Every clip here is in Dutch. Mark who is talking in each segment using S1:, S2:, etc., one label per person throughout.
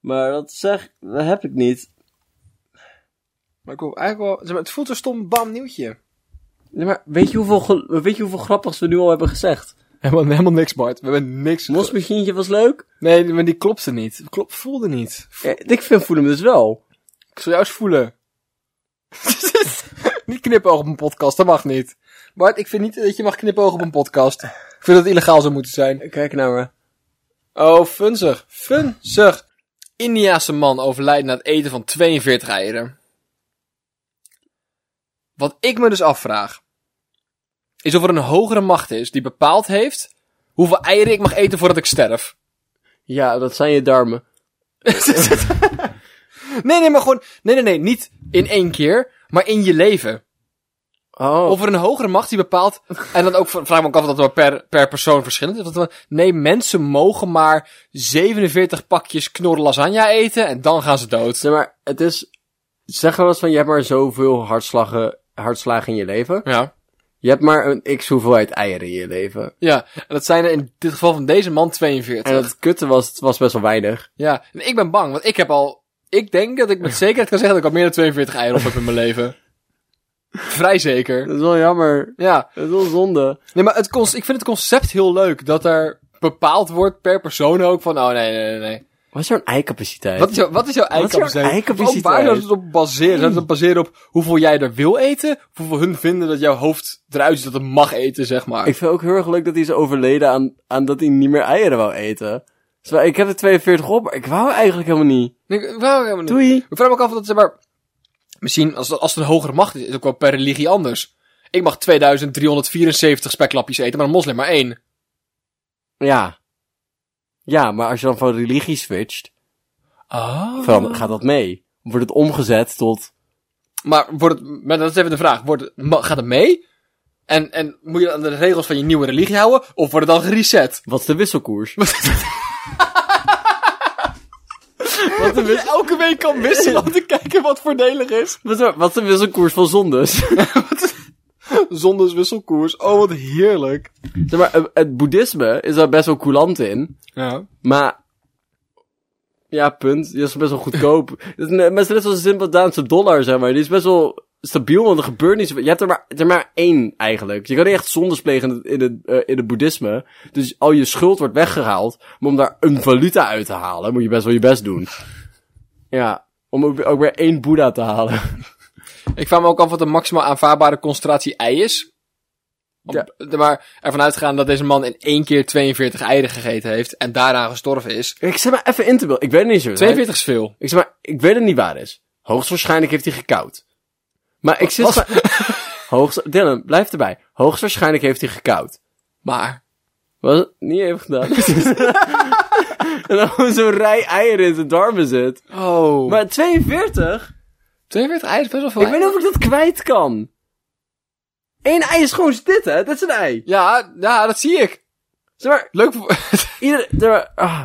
S1: Maar dat zeg, dat heb ik niet.
S2: Maar ik wil eigenlijk wel... Zeg maar, het voelt een stom bam nieuwtje.
S1: Nee, maar weet je, hoeveel, gel- weet je hoeveel grappigs we nu al hebben gezegd?
S2: Helemaal, helemaal niks, Bart. We hebben niks... ge-
S1: Mosmachientje was leuk.
S2: Nee, maar die klopte niet. Klop, voelde niet.
S1: Ja, ik vind voel hem dus wel.
S2: Ik zal jou eens voelen. niet knipoog op een podcast, dat mag niet. Bart, ik vind niet dat je mag knipoog op een podcast. Ik vind dat het illegaal zou moeten zijn.
S1: Kijk nou naar me.
S2: Oh, funzig. Funzig. Indiaanse man overlijdt na het eten van 42 eieren. Wat ik me dus afvraag, is of er een hogere macht is die bepaald heeft hoeveel eieren ik mag eten voordat ik sterf.
S1: Ja, dat zijn je darmen.
S2: Nee, nee, maar gewoon, nee, nee, nee, niet in één keer, maar in je leven.
S1: Oh.
S2: Of er een hogere macht die bepaalt. En dan ook v- vraag ik me ook af of dat wel per, per persoon verschillend is. of dat wel- nee, mensen mogen maar 47 pakjes knorren lasagne eten en dan gaan ze dood.
S1: Nee, maar het is... Zeg wel eens van, je hebt maar zoveel hartslagen, hartslagen in je leven.
S2: Ja.
S1: Je hebt maar een x hoeveelheid eieren in je leven.
S2: Ja, en dat zijn er in dit geval van deze man 42.
S1: En het kutte was, het was best wel weinig.
S2: Ja, en ik ben bang, want ik heb al... Ik denk dat ik met zekerheid kan zeggen dat ik al meer dan 42 eieren op heb in mijn leven. Vrij zeker.
S1: Dat is wel jammer.
S2: Ja,
S1: Dat is wel zonde.
S2: nee, maar het concept, ik vind het concept heel leuk dat er bepaald wordt per persoon ook van... Oh, nee, nee, nee, nee.
S1: Wat is jouw eicapaciteit?
S2: Wat is, jou, wat is jouw eikapaciteit?
S1: eikapaciteit?
S2: Waar zou het op baseren? Zou het op baseren op hoeveel jij er wil eten? Of hoeveel hun vinden dat jouw hoofd eruit ziet dat het mag eten, zeg maar?
S1: Ik vind ook heel erg leuk dat hij is overleden aan, aan dat hij niet meer eieren wou eten. Dus wel, ik heb er 42 op, maar ik wou eigenlijk helemaal niet.
S2: Ik- ik wou helemaal niet.
S1: Doei.
S2: Ik vraag me ook af of dat zeg maar... Misschien, als, als het een hogere macht is, is het ook wel per religie anders. Ik mag 2374 speklapjes eten, maar een moslim maar één.
S1: Ja. Ja, maar als je dan van religie switcht,
S2: Oh.
S1: van, gaat dat mee? Wordt het omgezet tot...
S2: Maar, wordt het, maar dat is even de vraag. Wordt het, ma- gaat het mee? En, en moet je aan de regels van je nieuwe religie houden? Of wordt het dan gereset?
S1: Wat is de wisselkoers? wat, de wis-
S2: Elke week kan wisselen om te kijken wat voordelig is.
S1: wat, is- wat is de wisselkoers van zondes?
S2: Zondes wisselkoers. Oh, wat heerlijk.
S1: zeg maar, het- het boeddhisme is daar best wel coulant in,
S2: Ja.
S1: maar... Ja, punt. Die is best wel goedkoop. Het is net- maar het is net zoals de Zimbabweanse dollar, zeg maar. Die is best wel stabiel, want er gebeurt niet zoveel. Je hebt er maar, er maar één, eigenlijk. Je kan niet echt zondes plegen in het, in, het, eh, in het boeddhisme. Dus al je schuld wordt weggehaald. Maar om daar een valuta uit te halen, moet je best wel je best doen. Ja, om ook, ook weer één boeddha te halen.
S2: Ik vraag me ook af wat de maximaal aanvaardbare concentratie ei is. Om-
S1: Ja.
S2: de- Maar ervan uitgaan dat deze man in één keer 42 eieren gegeten heeft en daarna gestorven is.
S1: Ik zet maar even in te beelden. Ik weet het niet zo.
S2: 42 is veel.
S1: Ik zeg maar, ik weet het niet waar is. Hoogstwaarschijnlijk heeft hij gekoud. Maar ik zit...
S2: Wat?
S1: maar- Hoogst... Dylan, blijf erbij. Hoogstwaarschijnlijk heeft hij gekoud.
S2: Maar.
S1: Wat? Niet even gedaan. en dan gewoon zo'n rij eieren in zijn darmen zit.
S2: Oh.
S1: Maar 42?
S2: 42 eieren is best wel veel.
S1: Ik weet niet of ik dat kwijt kan. Eén ei is gewoon dit, hè? Dat is een ei.
S2: Ja, ja, dat zie ik.
S1: Zeg maar,
S2: Leuk voor...
S1: ieder, zeg maar, ah.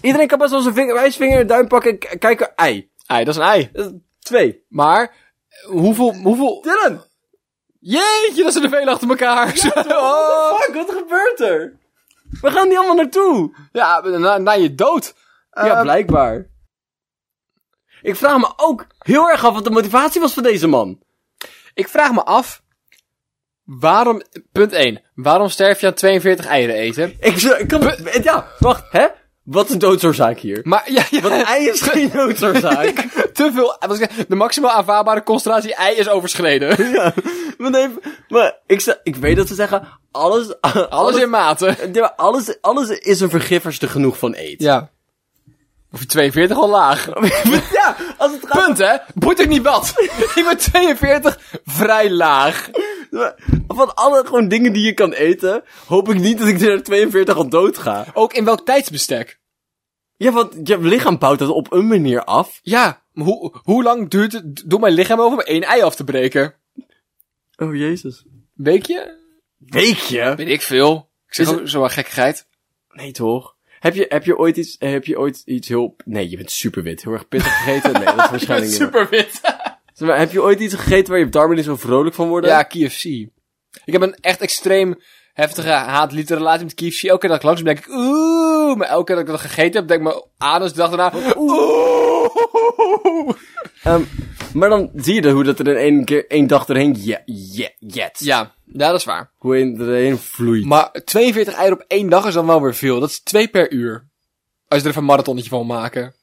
S1: iedereen kan best wel zijn vinger, wijsvinger en duim pakken en k- kijken. Ei.
S2: ei, dat is een ei.
S1: Dat is twee.
S2: Maar, hoeveel, hoeveel...
S1: Dylan!
S2: Jeetje, dat zijn er veel achter elkaar. oh.
S1: Fuck, wat gebeurt er? We gaan die allemaal naartoe.
S2: Ja, na, na je dood.
S1: ja,
S2: Eh,
S1: blijkbaar. Ik vraag me ook heel erg af wat de motivatie was van deze man.
S2: Ik vraag me af. Waarom, punt 1. Waarom sterf je aan 42 eieren eten?
S1: Ik, z- ik kan... Ja, wacht, hè? Wat een doodsoorzaak hier.
S2: Maar, ja, ja.
S1: Want een ei is geen doodsoorzaak.
S2: te veel. wat ik zeg, De maximaal aanvaardbare concentratie ei is overschreden.
S1: ja, maar, nee, maar ik, z- ik weet dat ze zeggen, alles... Alles,
S2: Alles in mate.
S1: Nee, maar alles, alles is een vergifferste genoeg van eten.
S2: Ja. Of je 42 al laag.
S1: ja, als het gaat...
S2: Punt, hè? Boeit ook niet wat. ik ben 42 vrij laag.
S1: Van alle gewoon dingen die je kan eten, hoop ik niet dat ik er 42 al dood ga.
S2: Ook in welk tijdsbestek?
S1: Ja, want je lichaam bouwt dat op een manier af.
S2: Ja, maar hoe, hoe lang duurt het, doet mijn lichaam over om één ei af te breken?
S1: Oh, jezus.
S2: Weet je?
S1: Weekje?
S2: Weet ik veel. Ik zeg
S1: Is
S2: ook zomaar gekkigheid.
S1: Nee, toch? Heb je, heb je ooit iets, heb je ooit iets heel... Nee, je bent superwit. Heel erg pittig gegeten? Nee, dat is waarschijnlijk niet. waar.
S2: Super wit.
S1: Zeg maar, heb je ooit iets gegeten waar je op darmen niet zo vrolijk van wordt?
S2: Ja, KFC. Ik heb een echt extreem heftige haat-liefde relatie met KFC. Elke keer dat ik langs ben, denk ik, oeh. Maar elke keer dat ik dat gegeten heb, denk ik mijn anus de dag daarna, oeh.
S1: Ehm, maar dan zie je dat hoe dat er in één keer één dag doorheen je, je, jet.
S2: Ja, ja, dat is waar.
S1: Hoe in doorheen vloeit.
S2: Maar 42 eieren op één dag is dan wel weer veel. Dat is twee per uur. Als je er even een marathonnetje van wil maken.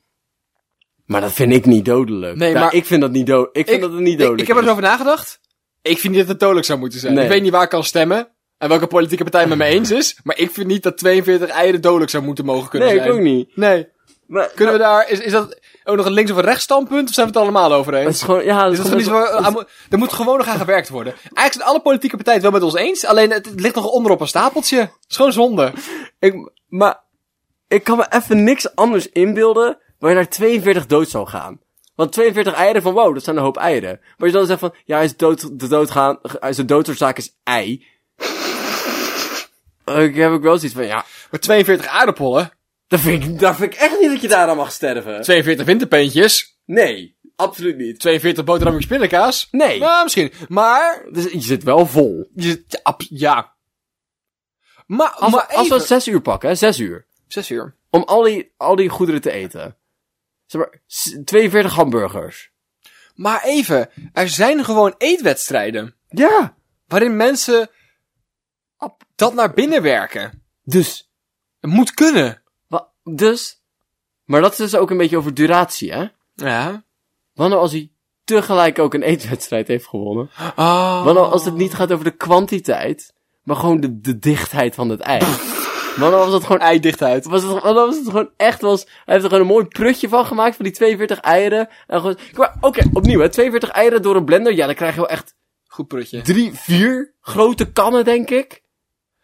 S1: maar dat vind ik niet dodelijk.
S2: Nee,
S1: Nou,
S2: maar-
S1: ik vind dat niet dood. Ik vind dat het niet dodelijk.
S2: Ik, ik heb er
S1: is.
S2: eens over nagedacht. Ik vind niet dat het dodelijk zou moeten zijn.
S1: Nee.
S2: Ik weet niet waar ik kan stemmen. En welke politieke partij het met me eens is. Maar ik vind niet dat 42 eieren dodelijk zou moeten mogen kunnen
S1: Nee,
S2: zijn.
S1: ik ook niet.
S2: Nee.
S1: Maar,
S2: Kunnen we daar... Is, is dat ook nog een links- of een rechts standpunt? Of zijn we het allemaal over
S1: het
S2: eens?
S1: is gewoon, ja,
S2: Is
S1: het
S2: dat
S1: is
S2: gewoon
S1: gewoon
S2: iets waar- aan moet- ah, er moet gewoon nog aan gewerkt worden. Eigenlijk zijn alle politieke partijen het wel met ons eens. Alleen het, het ligt nog onder op een stapeltje. Het is gewoon zonde.
S1: Ik, maar ik kan me even niks anders inbeelden waar je naar 42 dood zou gaan. Want 42 eieren van wow, dat zijn een hoop eieren. Maar je dan zegt van, ja, hij is dood, de doodgaan, hij is de doodsoorzaak is ei. ik heb ook wel zoiets van, ja,
S2: Maar 42 aardappelen.
S1: dat vind, ik, dat vind ik echt niet dat je daaraan mag sterven.
S2: 42 winterpeentjes.
S1: Nee, absoluut niet.
S2: 42 boterhammetjes pindakaas?
S1: Nee.
S2: Nou, misschien. Maar,
S1: Dus je zit wel vol.
S2: je, ja, ab- ja. Maar,
S1: Als,
S2: maar
S1: we, als we
S2: even-
S1: 6 uur pakken, hè, 6 uur.
S2: Zes uur.
S1: Om al die, al die goederen te eten. Zeg maar, s- 42 hamburgers.
S2: Maar even, er zijn gewoon eetwedstrijden.
S1: Ja.
S2: Waarin mensen ab- dat naar binnen werken.
S1: Dus
S2: Het moet kunnen.
S1: Wa- Dus, maar dat is dus ook een beetje over duratie, hè?
S2: Ja.
S1: Wanneer als hij tegelijk ook een eetwedstrijd heeft gewonnen?
S2: Oh.
S1: Wanneer als het niet gaat over de kwantiteit, maar gewoon de, de dichtheid van het ei? Wanneer was het gewoon
S2: Eidichtheid.
S1: was het, wanneer was het gewoon echt was, hij heeft er gewoon een mooi prutje van gemaakt van die 42 eieren. En gewoon, Kijk maar, oké, opnieuw hè, 42 eieren door een blender, ja dan krijg je wel echt
S2: Goed prutje.
S1: drie, vier grote kannen denk ik.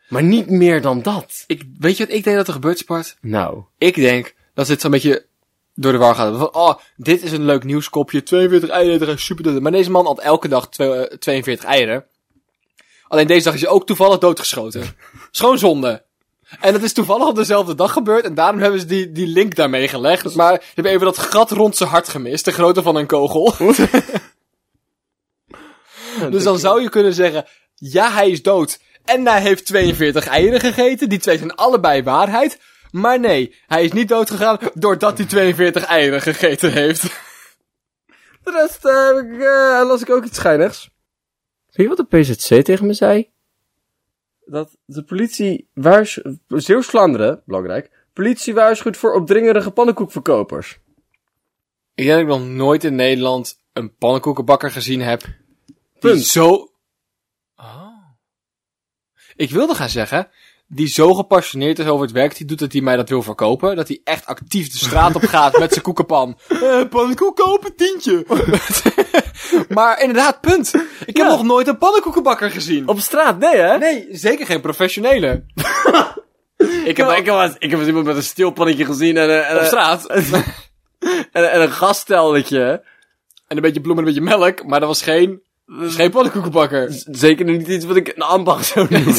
S1: Maar niet meer dan dat.
S2: Ik, weet je wat ik denk dat er gebeurt, Spart?
S1: Nou,
S2: Ik denk dat dit zo'n beetje door de war gaat. Van, oh, dit is een leuk nieuwskopje. 42 eieren, super dood. Maar deze man had elke dag twee- eh, 42 eieren. Alleen deze dag is hij ook toevallig doodgeschoten. Schoon zonde. En dat is toevallig op dezelfde dag gebeurd. En daarom hebben ze die, die link daarmee gelegd. Maar ze hebben even dat gat rond zijn hart gemist. De grootte van een kogel. dus dan zou je kunnen zeggen... Ja, hij is dood. En hij heeft 42 eieren gegeten. Die twee zijn allebei waarheid. Maar nee, hij is niet doodgegaan doordat hij 42 eieren gegeten heeft.
S1: De rest eh, heb ik, eh, las ik ook iets schijnigs. Weet je wat de PZC tegen me zei? Dat de politie waarschuwt... Zeeuws-Vlaanderen, belangrijk. Politie waarschuwt voor opdringerige pannenkoekverkopers.
S2: Ik denk dat ik nog nooit in Nederland een pannenkoekenbakker gezien heb. Die
S1: Punt.
S2: zo... Oh. Ik wilde gaan zeggen, die zo gepassioneerd is over het werk die doet dat hij mij dat wil verkopen. Dat hij echt actief de straat op gaat met zijn koekenpan. Eh, pannenkoek kopen, tientje. maar inderdaad, punt. Ik
S1: Ja.
S2: heb nog nooit een pannenkoekenbakker gezien.
S1: Op straat, nee hè?
S2: Nee, zeker geen professionele.
S1: Ik heb, ik, heb, wel eens- ik heb eens iemand met een stilpannetje gezien en, een- en,
S2: Nou, Op
S1: een-
S2: straat.
S1: en, en een gaststelletje.
S2: En een beetje bloem en een beetje melk, maar dat was geen, dat is geen pannenkoekenbakker.
S1: Zeker niet iets wat ik een ambacht zou noemen.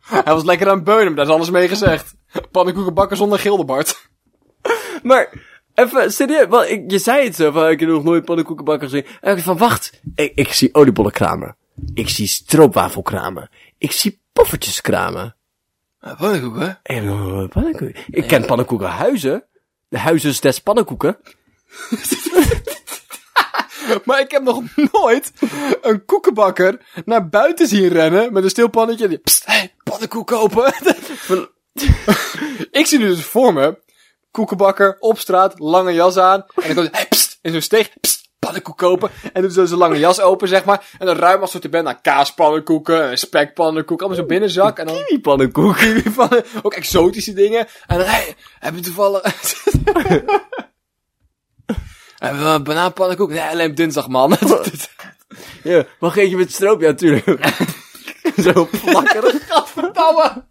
S2: Hij was lekker aan het beunen, maar daar is alles mee gezegd. Pannenkoekenbakker zonder Gildebart.
S1: Maar, even serieus, want ik, je zei het zo van, ik heb nog nooit pannenkoekenbakken gezien. En ik dacht van, wacht, ik, ik zie oliebollenkramen. Ik zie stroopwafelkramen. Ik zie poffertjeskramen.
S2: Pannenkoeken?
S1: En eh, pannenkoeken. Ik ken pannenkoekenhuizen. De huizen des pannenkoeken.
S2: Maar ik heb nog nooit een koekenbakker naar buiten zien rennen met een stilpannetje. en die, Psst, hey, pannenkoek kopen. ik zie nu dus voor me, koekenbakker op straat, lange jas aan. En dan komt hij, hey, psst, in zo'n steeg, psst, pannenkoek kopen. En doet zo zijn lange jas open, zeg maar. En dan ruim assortiment naar kaaspannenkoeken, en spekpannenkoeken, allemaal zo'n binnenzak. En dan
S1: Die pannenkoek.
S2: van, ook exotische dingen. En dan, hey, heb je toevallig... Hebben we een banaanpannenkoek? Nee, alleen op dinsdag, man.
S1: Ja, mag eentje met stroop? Ja, tuurlijk. zo plakkerig.
S2: Gadverdamme!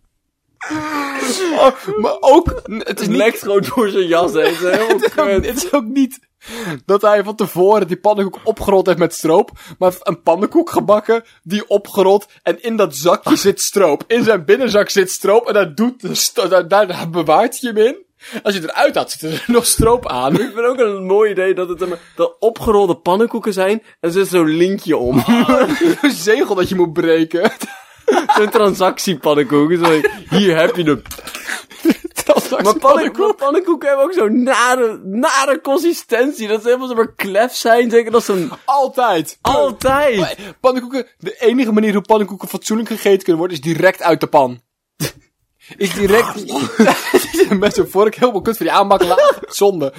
S2: Oh, maar ook, het is
S1: Het
S2: niet
S1: lekt gewoon door zijn jas heen. Zo heel
S2: Het is ook-
S1: kut.
S2: het is ook niet dat hij van tevoren die pannenkoek opgerold heeft met stroop. Maar een pannenkoek gebakken, die opgerold. En in dat zakje zit stroop. In zijn binnenzak zit stroop. En daar, doet de sto- daar, daar bewaart hij hem in. Als je eruit had, zit er nog stroop aan.
S1: Ik vind ook een mooi idee dat het een- dat opgerolde pannenkoeken zijn en er zit zo'n lintje om.
S2: Een zegel dat je moet breken.
S1: Zo'n transactiepannenkoek. Is wel- hier heb je hem. Maar pannenkoek, maar pannenkoeken hebben ook zo'n nare, nare consistentie. Dat ze helemaal zomaar klef zijn. Zeker dat ze een...
S2: Altijd.
S1: Altijd!
S2: Maar Pannenkoeken, de enige manier hoe pannenkoeken fatsoenlijk gegeten kunnen worden, is direct uit de pan. Is direct. Met zo'n vork helemaal kut voor die aanbak laag. Zonde.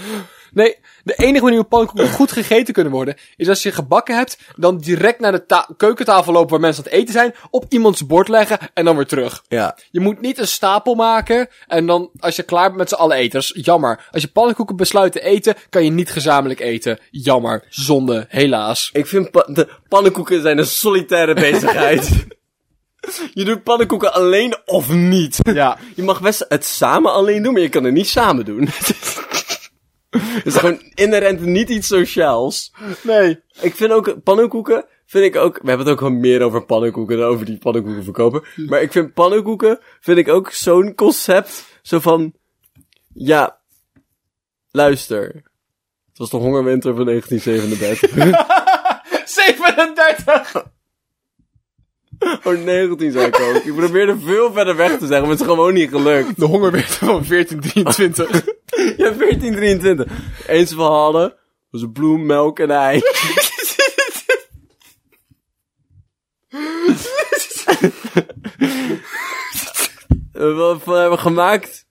S2: Nee, de enige manier hoe pannenkoeken goed gegeten kunnen worden, is als je gebakken hebt, dan direct naar de ta- keukentafel lopen waar mensen aan het eten zijn, op iemands bord leggen en dan weer terug.
S1: Ja.
S2: Je moet niet een stapel maken en dan, als je klaar bent met z'n allen eten, dat is jammer. Als je pannenkoeken besluit te eten, kan je niet gezamenlijk eten. Jammer. Zonde. Helaas.
S1: Ik vind pa- de pannenkoeken zijn een solitaire bezigheid. je doet pannenkoeken alleen of niet.
S2: Ja.
S1: Je mag best het samen alleen doen, maar je kan het niet samen doen. Het is gewoon inherent niet iets sociaals.
S2: Nee.
S1: Ik vind ook pannenkoeken, vind ik ook, we hebben het ook wel meer over pannenkoeken dan over die pannenkoeken verkopen. Maar ik vind pannenkoeken, vind ik ook zo'n concept, zo van, ja, luister. Het was de hongerwinter van 1937.
S2: 37!
S1: oh, 19 zei ik ook. Ik probeerde veel verder weg te zeggen, maar het is gewoon niet gelukt.
S2: De honger werd van 1423.
S1: Ja, 1423. Eens verhalen was een bloem, melk en ei. Eh, Wat we hebben gemaakt?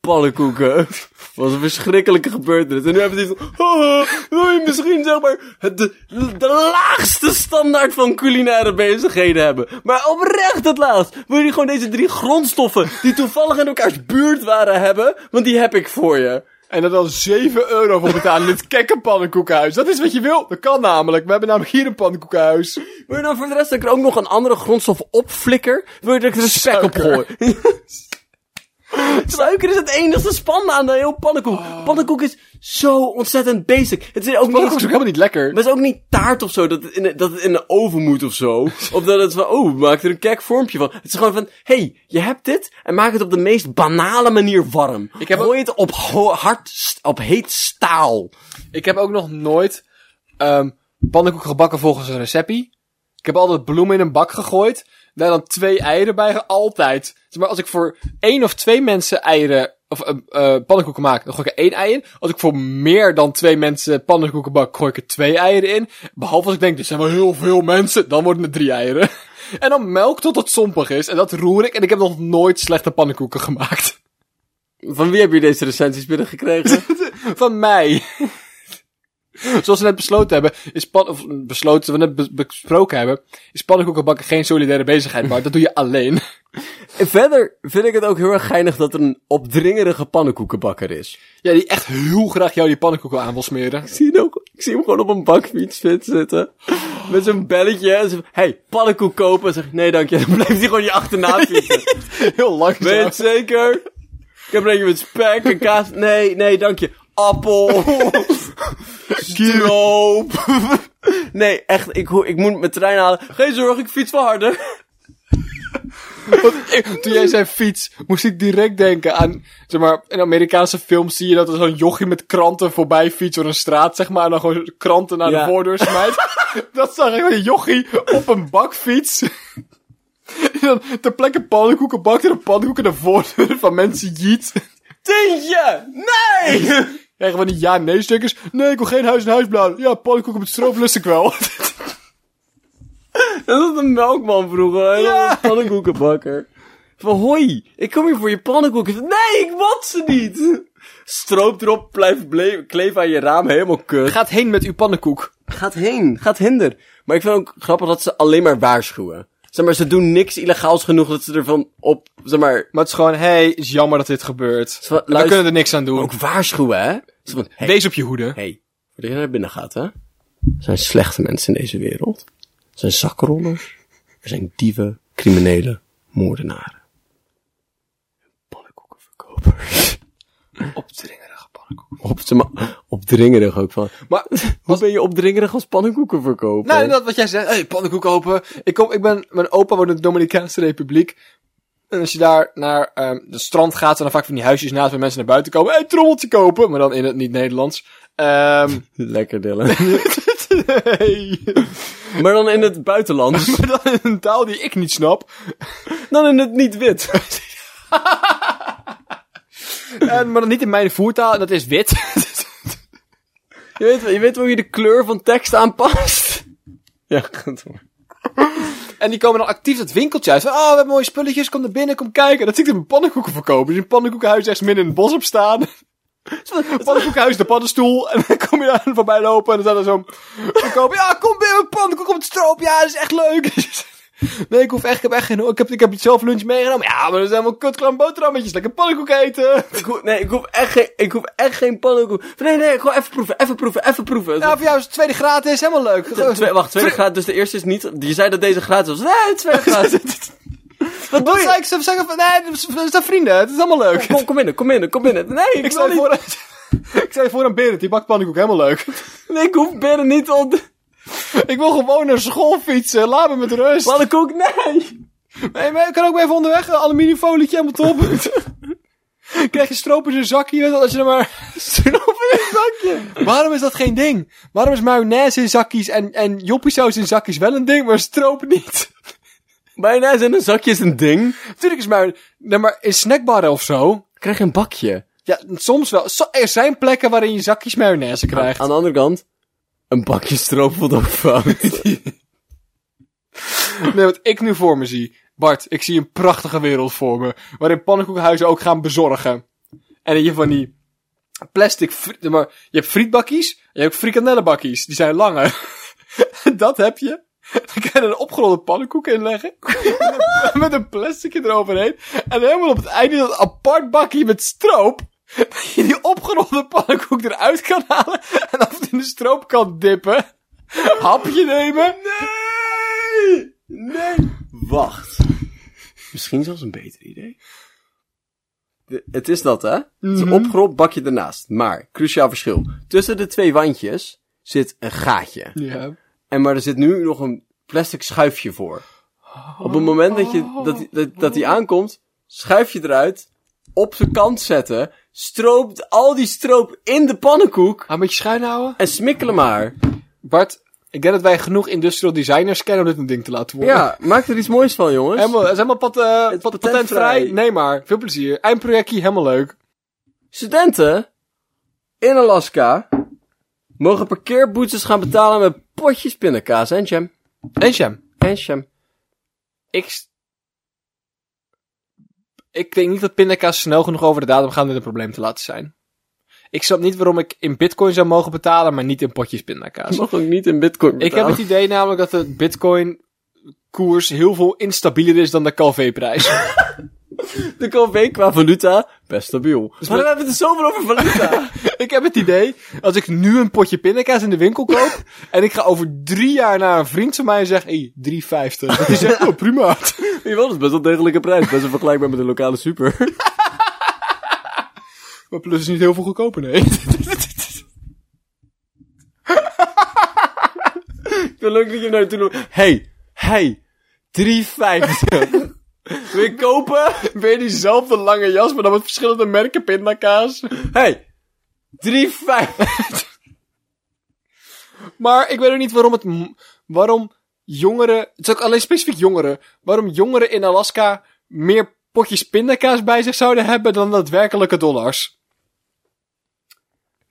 S1: Pannenkoeken. was een verschrikkelijke gebeurtenis. En nu hebben ze iets van, oh, wil je misschien zeg maar het- de, de laagste standaard van culinaire bezigheden hebben. Maar oprecht het laagst. Wil je gewoon deze drie grondstoffen die toevallig in elkaars buurt waren hebben? Want die heb ik voor je.
S2: En er dan 7 euro voor betalen in dit kekke pannenkoekenhuis. Dat is wat je wil. Dat kan namelijk. We hebben namelijk hier een pannenkoekenhuis.
S1: Wil je dan voor de rest dat ik er ook nog een andere grondstof opflikker? Wil je dat ik er spek op gooi?
S2: Suiker.
S1: Suiker is het enigste spannende aan de hele pannenkoek.
S2: Oh.
S1: Pannenkoek is zo ontzettend basic. Het is ook niet
S2: Dat is ook helemaal niet lekker.
S1: Maar het is ook niet taart of zo, dat het in, de- dat het in de oven moet of zo. Of dat het van, oh, maak er een kek vormpje van. Het is gewoon van, hey, je hebt dit en maak het op de meest banale manier warm.
S2: Ik heb
S1: Gooi het op ho- hard, st- op heet staal.
S2: Ik heb ook nog nooit ehm pannenkoeken gebakken volgens een receptie. Ik heb altijd bloemen in een bak gegooid. Daar dan twee eieren bij, ge- altijd. Zeg Maar als ik voor één of twee mensen eieren, of eh, eh, pannenkoeken maak, dan gooi ik er één ei in. Als ik voor meer dan twee mensen pannenkoeken bak, gooi ik er twee eieren in. Behalve als ik denk, dit zijn wel heel veel mensen, dan worden het drie eieren. En dan melk tot het sompig is. En dat roer ik. En ik heb nog nooit slechte pannenkoeken gemaakt.
S1: Van wie heb je deze recensies binnengekregen?
S2: Van mij. Zoals we net besloten hebben, is pan, of besloten, we net be- besproken hebben, is pannenkoeken bakken geen solidaire bezigheid, maar dat doe je alleen.
S1: En Verder vind ik het ook heel erg geinig dat er een opdringerige pannenkoekenbakker is.
S2: Ja, die echt heel graag jou die pannenkoeken aan wil smeren.
S1: Ik zie, hem ook, ik zie hem gewoon op een bakfiets fit zitten. Met zo'n belletje. En zo, hey, pannenkoek kopen. Zeg, ik, nee dank je. Dan blijft hij gewoon je achterna fietsen.
S2: Heel langzaam.
S1: Weet je het zeker? Ik heb een met spek en kaas. Nee, nee, dank je. Appel. Stroop. Nee, echt, ik, ho- ik moet mijn trein halen. Geen zorg, ik fiets wel harder.
S2: Want ik- toen jij zei fiets, moest ik direct denken aan, zeg maar, in Amerikaanse films zie je dat er zo'n jochie met kranten voorbij fietst door een straat, zeg maar, en dan gewoon kranten naar
S1: Ja.
S2: de voordeur smijt. dat zag ik een jochie op een bakfiets. en dan ter plekke pannenkoeken bakt en een pannenkoeken naar de voordeur van mensen jiet.
S1: Tintje! Nee!
S2: Krijgen we die ja-nee-stukkers? Nee, ik wil geen huis in huis bladen. Ja, pannenkoeken met stroop lust ik wel.
S1: Dat was een melkman vroeger. hè?
S2: Ja.
S1: Een pannenkoekenbakker. Van hoi, ik kom hier voor je pannenkoeken. Nee, ik wat ze niet. Stroop erop, blijf ble- kleef aan je raam, helemaal kut.
S2: Gaat heen met uw pannenkoek.
S1: Gaat heen, gaat hinder. Maar ik vind ook grappig dat ze alleen maar waarschuwen. Zeg maar, ze doen niks illegaals genoeg dat ze ervan op, zeg maar,
S2: Maar het is gewoon, hé, hey, is jammer dat dit gebeurt.
S1: Zwa-
S2: We
S1: luister-
S2: kunnen er niks aan doen.
S1: ook waarschuwen, hè? Ze van, hey,
S2: Wees op je hoede.
S1: hey, voordat je naar binnen gaat, hè? Er zijn slechte mensen in deze wereld. Er zijn zakrollers. Er zijn dieven, criminelen, moordenaren. Pannenkoekenverkopers.
S2: Opdringerige pannenkoeken.
S1: Op, zeg maar, opdringerig ook van.
S2: Maar
S1: Hoe ben je opdringerig als pannenkoekenverkoper?
S2: Nou, dat wat jij zegt. Hey, pannenkoek open. Ik, kom, ik ben, mijn opa woont in de Dominicaanse Republiek. En als je daar naar ehm het strand gaat, zijn dan vaak van die huisjes naast waar mensen naar buiten komen. Hey, trommeltje kopen. Maar dan in het niet-Nederlands. Ehm
S1: Lekker, Dylan.
S2: hey.
S1: Maar dan in het buitenland.
S2: Maar dan in een taal die ik niet snap.
S1: Dan in het niet-wit.
S2: En, maar dan niet in mijn voertaal, en dat is wit.
S1: Je weet, je weet hoe je de kleur van tekst aanpast? Ja, goed hoor.
S2: en die komen dan actief dat winkeltje uit. Van, oh, we hebben mooie spulletjes, kom naar binnen, kom kijken. Dat zie ik een pannenkoeken verkopen. Dus een pannenkoekenhuis echt midden in het bos op staan. Het pannenkoekenhuis, de pannenstoel. En dan kom je daar voorbij lopen en dan staat er zo'n verkoper. Ja, kom binnen, een pannenkoek op het stroop. Ja, dat is echt leuk. Dus, Nee, ik hoef echt, ik heb echt geen, ik heb, ik heb zelf lunch meegenomen. Ja, maar dat zijn wel kutklam boterhammetjes. Lekker pannenkoek eten.
S1: Ik hoef, nee, ik hoef echt geen, ik hoef echt geen pannenkoek. Nee, nee, gewoon even proeven, even proeven, even proeven.
S2: Ja, voor jou is het tweede gratis, helemaal leuk.
S1: De twee- wacht, tweede graad, dus de eerste is niet... Je zei dat deze gratis was. Nee, tweede graad. Wat doe
S2: Wat zei
S1: je?
S2: ik? Ze zeggen van, nee, dat zijn vrienden. Het is allemaal leuk.
S1: Kom, kom binnen, kom binnen, kom binnen. Nee, ik, wil
S2: Ik zei
S1: niet...
S2: voor aan, ik zei voor aan Berend, die bakt pannenkoek, helemaal leuk.
S1: Nee, ik hoef binnen niet op...
S2: Ik wil gewoon naar school fietsen, laat me met rust.
S1: Pannenkoek, nee!
S2: Nee, maar ik kan ook maar even onderweg een aluminiumfolietje helemaal top. Krijg je stroop in zijn zakje, als je dan maar... Stroop in een zakje? Waarom is dat geen ding? Waarom is mayonaise in zakjes en, en joppiesaus in zakjes wel een ding, maar stroop niet?
S1: Mayonaise in een zakje is een ding.
S2: Natuurlijk is mayonaise... Nee, maar in snackbarren of zo...
S1: Krijg je een bakje.
S2: Ja, soms wel. Zo- Er zijn plekken waarin je zakjes mayonaise krijgt.
S1: Aan de andere kant, een bakje stroop voelt ook fout.
S2: Nee, wat ik nu voor me zie. Bart, ik zie een prachtige wereld voor me. Waarin pannenkoekhuizen ook gaan bezorgen. En dat je van die plastic... fri- Maar je hebt frietbakjes en je hebt ook frikandellenbakjes. Die zijn langer. dat heb je. Dan kan je er een opgerolde pannenkoek in leggen. met een plasticje eroverheen. En helemaal op het einde dat apart bakje met stroop. Dat je die opgerolde pannenkoek eruit kan halen. En af en toe in de stroop kan dippen. Hapje nemen.
S1: Nee! Nee! Wacht. Misschien zelfs een beter idee. Mhm. De- het is dat, hè? Het is een opgerold bakje ernaast. Maar, cruciaal verschil. Tussen de twee wandjes zit een gaatje.
S2: Ja.
S1: En maar er zit nu nog een plastic schuifje voor. Op het moment dat, je, dat, dat, dat die aankomt, schuif je eruit, op zijn kant zetten, stroopt al die stroop in de pannenkoek
S2: Ah, een beetje schuin houden?
S1: en smikkelen maar.
S2: Bart, ik denk dat wij genoeg industrial designers kennen om dit een ding te laten worden.
S1: Ja, maak er iets moois van, jongens.
S2: Helemaal, het is helemaal pat, eh,
S1: is
S2: pat-
S1: patentvrij.
S2: patentvrij. Nee maar, veel plezier. Eindprojectje, helemaal leuk.
S1: Studenten in Alaska mogen parkeerboetes gaan betalen met potjes pindakaas en jam.
S2: En Sham,
S1: En jam.
S2: ik... s- Ik denk niet dat pindakaas snel genoeg over de datum gaan om dit een probleem te laten zijn. Ik snap niet waarom ik in bitcoin zou mogen betalen, maar niet in potjes pindakaas.
S1: Mag ook niet in bitcoin
S2: Ik heb
S1: betalen.
S2: het idee namelijk dat de bitcoin koers heel veel instabieler is dan de Calvé-prijs.
S1: de KV qua valuta best stabiel. maar we hebben het er zoveel over valuta.
S2: Ik heb het idee, als ik nu een potje pindakaas in de winkel koop, en ik ga over drie jaar naar een vriend van mij en zeg, hé, 3,50. Dat is echt, oh, prima.
S1: Jawel, dat is best wel een degelijke prijs. Best wel vergelijkbaar met de lokale super.
S2: Maar plus is niet heel veel goedkoper, nee.
S1: Ik vind het leuk dat je naar toe loopt. nou Hey, hey, 3,50. Wil je kopen?
S2: Weer diezelfde lange jas, maar dan met verschillende merken pindakaas.
S1: Hey, 3,50.
S2: Maar ik weet ook niet waarom het, m- waarom jongeren, het is ook alleen specifiek jongeren, waarom jongeren in Alaska meer potjes pindakaas bij zich zouden hebben dan daadwerkelijke dollars.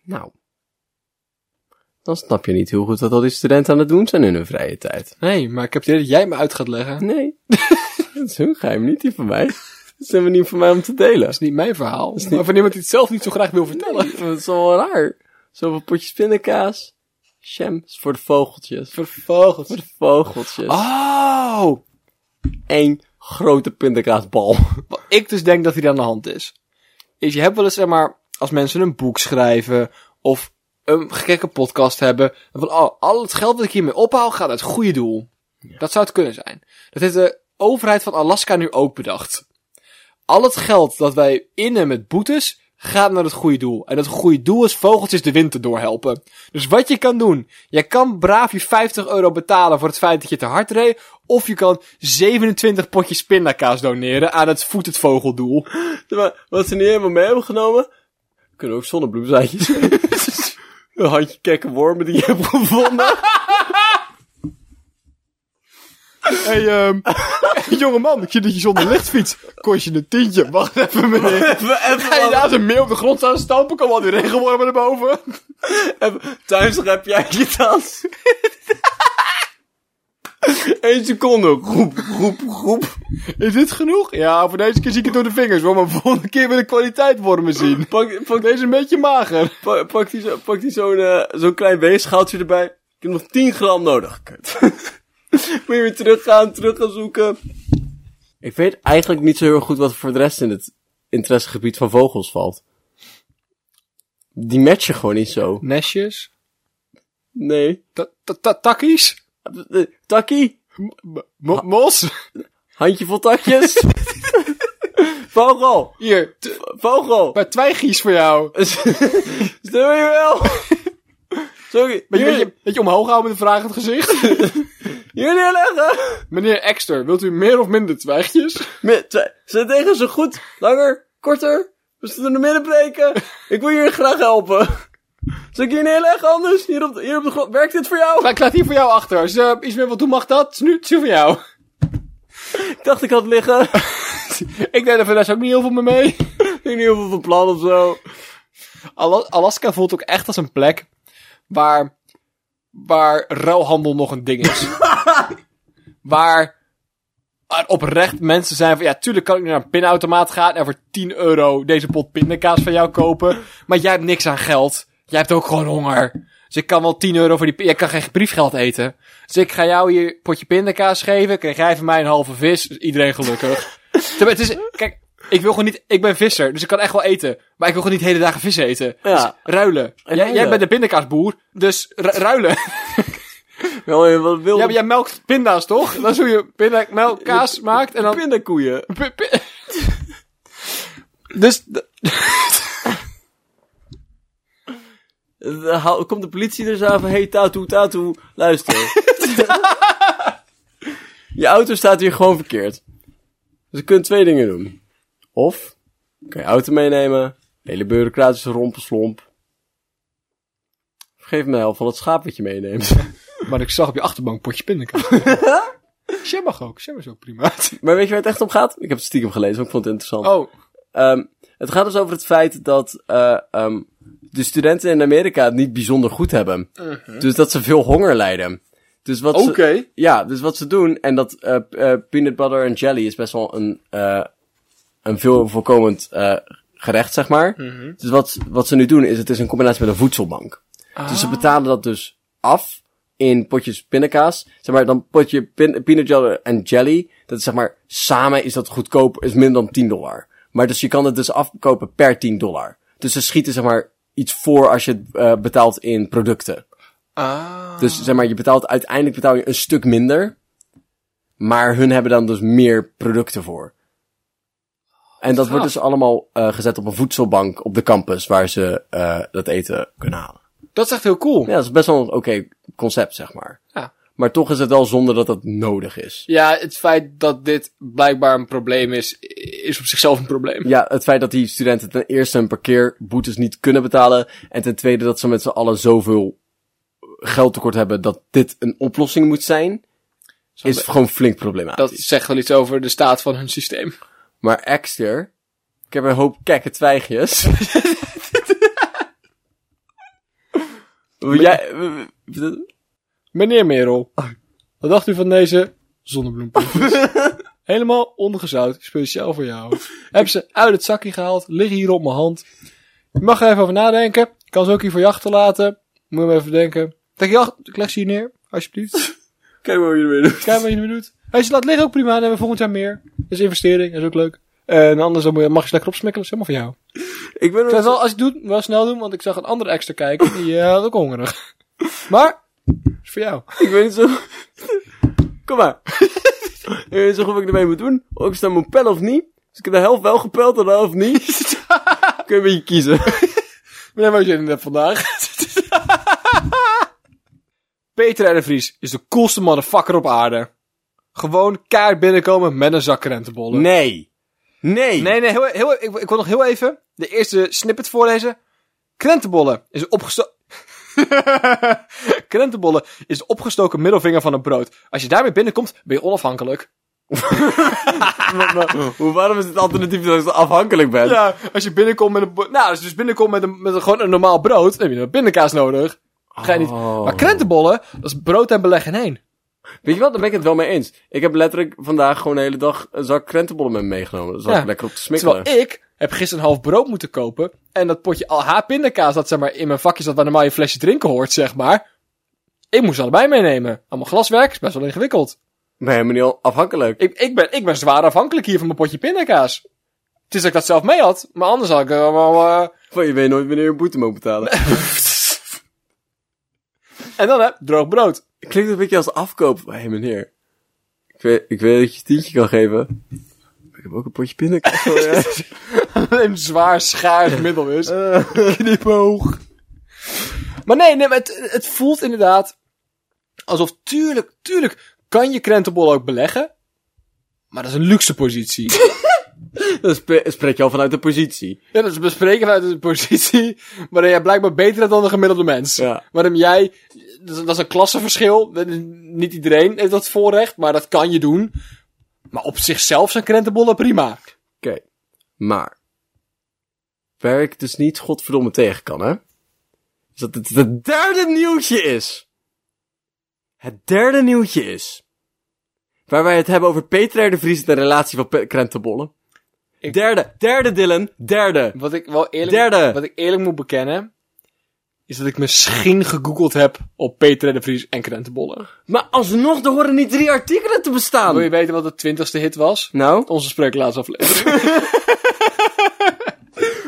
S1: Nou. Dan snap je niet heel goed wat al die studenten aan het doen zijn in hun vrije tijd.
S2: Nee, maar ik heb het idee dat jij me uit gaat leggen. Dat
S1: Nee. dat is hun geheim, niet die van mij. Dat zijn we niet van mij om te delen.
S2: is niet mijn verhaal. Maar van iemand die het zelf niet zo graag wil vertellen.
S1: Dat is wel raar. Zoveel potjes pindakaas. Sham, is voor de vogeltjes. Voor
S2: Vervolgens.
S1: de vogeltjes.
S2: Oh!
S1: Eén grote pindakaasbal.
S2: Wat ik dus denk dat hier aan de hand is. Is je hebt wel eens, zeg maar, als mensen een boek schrijven. Of een gekke podcast hebben. dan Van, oh, al het geld dat ik hiermee ophaal gaat naar het goede doel. Dat zou het kunnen zijn. Dat heeft de overheid van Alaska nu ook bedacht. Al het geld dat wij innen met boetes gaat naar het goede doel. En het goede doel is vogeltjes de winter doorhelpen. Dus wat je kan doen. Je kan braaf je 50 euro betalen voor het feit dat je te hard reed. Of je kan 27 potjes pindakaas doneren aan het voet het vogeldoel.
S1: Maar wat ze niet helemaal mee hebben genomen, kunnen ook zonnebloemzaadjes. een handje kekke wormen die je hebt gevonden.
S2: hey, ehm jongeman, ik zie dat je zonder licht fietst. Kost je een tientje? Wacht even, meneer.
S1: Even,
S2: Ga je naast een meer op de grond staan stampen? Kom al die regenwormen naar boven.
S1: even, thuis rap jij je tas. Eén seconde. Groep, groep, groep.
S2: Is dit genoeg? Ja, voor deze keer zie ik het door de vingers. Hoor, maar volgende keer wil ik kwaliteit wormen zien.
S1: Pak, pak,
S2: Deze is een beetje mager.
S1: pak, pak die, zo- pak die zo'n eh, zo'n klein weegschaaltje erbij. Ik heb nog 10 gram nodig. Kut. Moet je weer teruggaan, terug gaan zoeken. Ik weet eigenlijk niet zo heel erg goed wat voor de rest in het interessegebied van vogels valt. Die matchen gewoon niet zo.
S2: Nestjes?
S1: Nee.
S2: Ta- ta- ta- Takkies? Ah.
S1: Eh, Takkie?
S2: M- mo- Mos?
S1: Handjevol takjes? Vogel!
S2: Hier, t-
S1: Vogel!
S2: maar twijgies voor jou.
S1: Stel je wel! Sorry,
S2: Beetje,
S1: hier,
S2: beetje, beetje omhoog houden met een vragend gezicht.
S1: hier neerleggen!
S2: Meneer Ekster, wilt u meer of minder twijgjes?
S1: Met, twa- zet tegen zo goed, langer, korter. We zitten in de middenbreken. Ik wil jullie graag helpen. Zal ik hier neerleggen anders? Hier op de, hier op de grond. Werkt dit voor jou?
S2: Maar Nou, ik laat hier voor jou achter. Als je eh, iets meer wilt doen, mag dat. Het is nu, het is nu voor jou.
S1: Ik dacht ik had het liggen.
S2: Ik deed er voor de rest ook niet heel veel mee mee.
S1: ik weet niet heel veel van plan of zo.
S2: Ala- Alaska voelt ook echt als een plek waar, waar ruilhandel nog een ding is. waar er oprecht mensen zijn van, ja, tuurlijk kan ik nu naar een pinautomaat gaan en voor 10 euro deze pot pindakaas van jou kopen. Maar jij hebt niks aan geld. Jij hebt ook gewoon honger. Dus ik kan wel 10 euro voor die... pin- Jij kan geen briefgeld eten. Dus ik ga jou hier een potje pindakaas geven. Krijg jij van mij een halve vis. Dus iedereen gelukkig. Terwijl het is... Kijk, ik wil gewoon niet... Ik ben visser, dus ik kan echt wel eten. Maar ik wil gewoon niet hele dagen vis eten.
S1: Ja.
S2: Dus ruilen. Jij,
S1: ruilen.
S2: jij bent de pindakaasboer, dus ru- ruilen.
S1: Wel heel wat wilde
S2: Ja, maar jij melkt pinda's, toch? Dat is hoe je pinda, melk, kaas maakt en dan...
S1: pindakoeien.
S2: Pi- pi- dus, d-
S1: Eh, hou- Komt de politie er zo aan van, hey Tatu, Tatu, luister. je auto staat hier gewoon verkeerd. Dus je kunt twee dingen doen. Of, kan je auto meenemen, hele bureaucratische rompenslomp. Vergeef me de helft van het schaap wat je meeneemt.
S2: maar ik zag op je achterbank potje pindakaas. Shit mag ook, Shit is ook prima.
S1: maar weet je waar het echt om gaat? Ik heb het stiekem gelezen, want ik vond het interessant.
S2: Oh,
S1: Ehm, het gaat dus over het feit dat eh, ehm, de studenten in Amerika het niet bijzonder goed hebben. Dus dat ze veel honger lijden. Dus wat ze-
S2: Oké.
S1: ja, dus wat ze doen, en dat eh, p- eh, peanut butter en jelly is best wel een, eh, een veel voorkomend eh, gerecht, zeg maar. Dus wat, wat ze nu doen is, het is een combinatie met een voedselbank. Dus ze betalen dat dus af in potjes pindakaas. Zeg maar, dan potje pin, peanut butter en jelly. Dat is zeg maar, samen is dat goedkoop, is minder dan 10 dollar. Maar dus je kan het dus afkopen per 10 dollar. Dus ze schieten zeg maar iets voor als je het eh, betaalt in producten.
S2: ah.
S1: Dus zeg maar, je betaalt, uiteindelijk betaal je een stuk minder. Maar hun hebben dan dus meer producten voor. En dat wordt dus allemaal eh, gezet op een voedselbank op de campus waar ze eh, dat eten kunnen halen.
S2: dat is echt heel cool.
S1: Ja, dat is best wel een oké concept, zeg maar.
S2: Ja.
S1: Maar toch is het wel zonder dat dat nodig is.
S2: Ja, het feit dat dit blijkbaar een probleem is, is op zichzelf een probleem.
S1: Ja, het feit dat die studenten ten eerste hun parkeerboetes niet kunnen betalen. En ten tweede dat ze met z'n allen zoveel geld tekort hebben dat dit een oplossing moet zijn. Is gewoon flink problematisch.
S2: Dat zegt wel iets over de staat van hun systeem.
S1: Maar Exter, ik heb een hoop kekke twijgjes. Jij,
S2: Meneer Merel, wat dacht u van deze zonnebloempotjes? Helemaal ongezout, speciaal voor jou. Heb ze uit het zakje gehaald, liggen hier op mijn hand. Je mag er even over nadenken. Ik kan ze ook hier voor je achterlaten. Moet je hem even denken. Kijk, je achter- ik leg ze hier neer, alsjeblieft.
S1: kijk maar hoe je ermee doet.
S2: Kijk wat je ermee doet. Als je ze laat liggen ook prima, dan hebben we volgend jaar meer. Dat is investering, dat is ook leuk. En anders dan moet je- mag je ze lekker opsmikkelen, dat is helemaal voor jou.
S1: Ik ben
S2: Ik
S1: nog-
S2: zou het wel, als je het doet, wel snel doen, want ik zag een andere extra kijken. Die eh, had ook hongerig. Maar, dat is voor jou.
S1: Ik weet niet zo. Kom maar. ik weet niet zo goed wat ik ermee moet doen. Of ik sta mijn pijl of niet. Dus ik heb de helft wel gepeld en de helft niet. Kun je een beetje kiezen.
S2: Meneer, wat jullie net vandaag? Peter R. de Vries is de coolste motherfucker op aarde. Gewoon kaart binnenkomen met een zak rentebollen.
S1: Nee. Nee.
S2: nee, nee, heel, heel, ik, ik wil nog heel even de eerste snippet voorlezen. Krentenbollen is opgestoken... Krentenbollen is de opgestoken middelvinger van een brood. Als je daarmee binnenkomt, ben je onafhankelijk.
S1: Hoe, waarom is het alternatief dat je afhankelijk bent?
S2: Ja, als je binnenkomt met een... bo- Nou, als je dus binnenkomt met, een, met een, gewoon een normaal brood, dan heb je een pindakaas nodig. Ga je niet...
S1: Oh.
S2: Maar krentenbollen, dat is brood en beleg in één.
S1: Weet je wat, daar ben ik het wel mee eens. Ik heb letterlijk vandaag gewoon de hele dag een zak krentenbollen met me meegenomen. Daar zat
S2: Ja.
S1: ik lekker op te smikkelen.
S2: Terwijl ik heb gisteren een half brood moeten kopen. En dat potje LH pindakaas dat zeg maar in mijn vakje zat waar normaal je flesje drinken hoort, zeg maar. Ik moest ze allebei meenemen. Allemaal glaswerk, is best wel ingewikkeld.
S1: Ik ben helemaal niet al- afhankelijk.
S2: Ik, ik, ben, ik ben zwaar afhankelijk hier van mijn potje pindakaas. Het is dat ik dat zelf mee had, maar anders had ik eh, wel... eh,
S1: Van, je weet nooit wanneer je een boete moet betalen.
S2: En dan hè, droog brood.
S1: Klinkt een beetje als afkoop. Hé hey, meneer, ik weet, ik weet dat je een tientje kan geven. Ik heb ook een potje pindakaas voor je.
S2: een zwaar schaars middel is.
S1: Eh,
S2: Knipoog. Maar nee, nee maar het, het voelt inderdaad alsof tuurlijk, tuurlijk kan je krentenbol ook beleggen. Maar dat is een luxe positie.
S1: Dan spre- spreek je al vanuit de positie.
S2: ja, dat is bespreken vanuit een positie waarin jij blijkbaar beter bent dan de gemiddelde mens.
S1: Ja.
S2: Waarom jij, dat is, dat is een klassenverschil. Niet iedereen heeft dat voorrecht, maar dat kan je doen. Maar op zichzelf zijn krentenbollen prima.
S1: Oké, maar. Waar ik dus niet godverdomme tegen kan, hè? Is dat het het derde nieuwtje is. Het derde nieuwtje is. Waar wij het hebben over Peter R. de Vries en de relatie van Pe- krentenbollen.
S2: Ik-
S1: Derde, derde Dylan, derde.
S2: Wat ik wel eerlijk,
S1: Derde.
S2: Wat ik eerlijk moet bekennen, is dat ik misschien gegoogeld heb op Peter R. de Vries en krentenbollen.
S1: Maar alsnog, er horen niet drie artikelen te bestaan.
S2: Wil je weten wat de twintigste hit was?
S1: Nou?
S2: Onze spreeklaatsaflevering.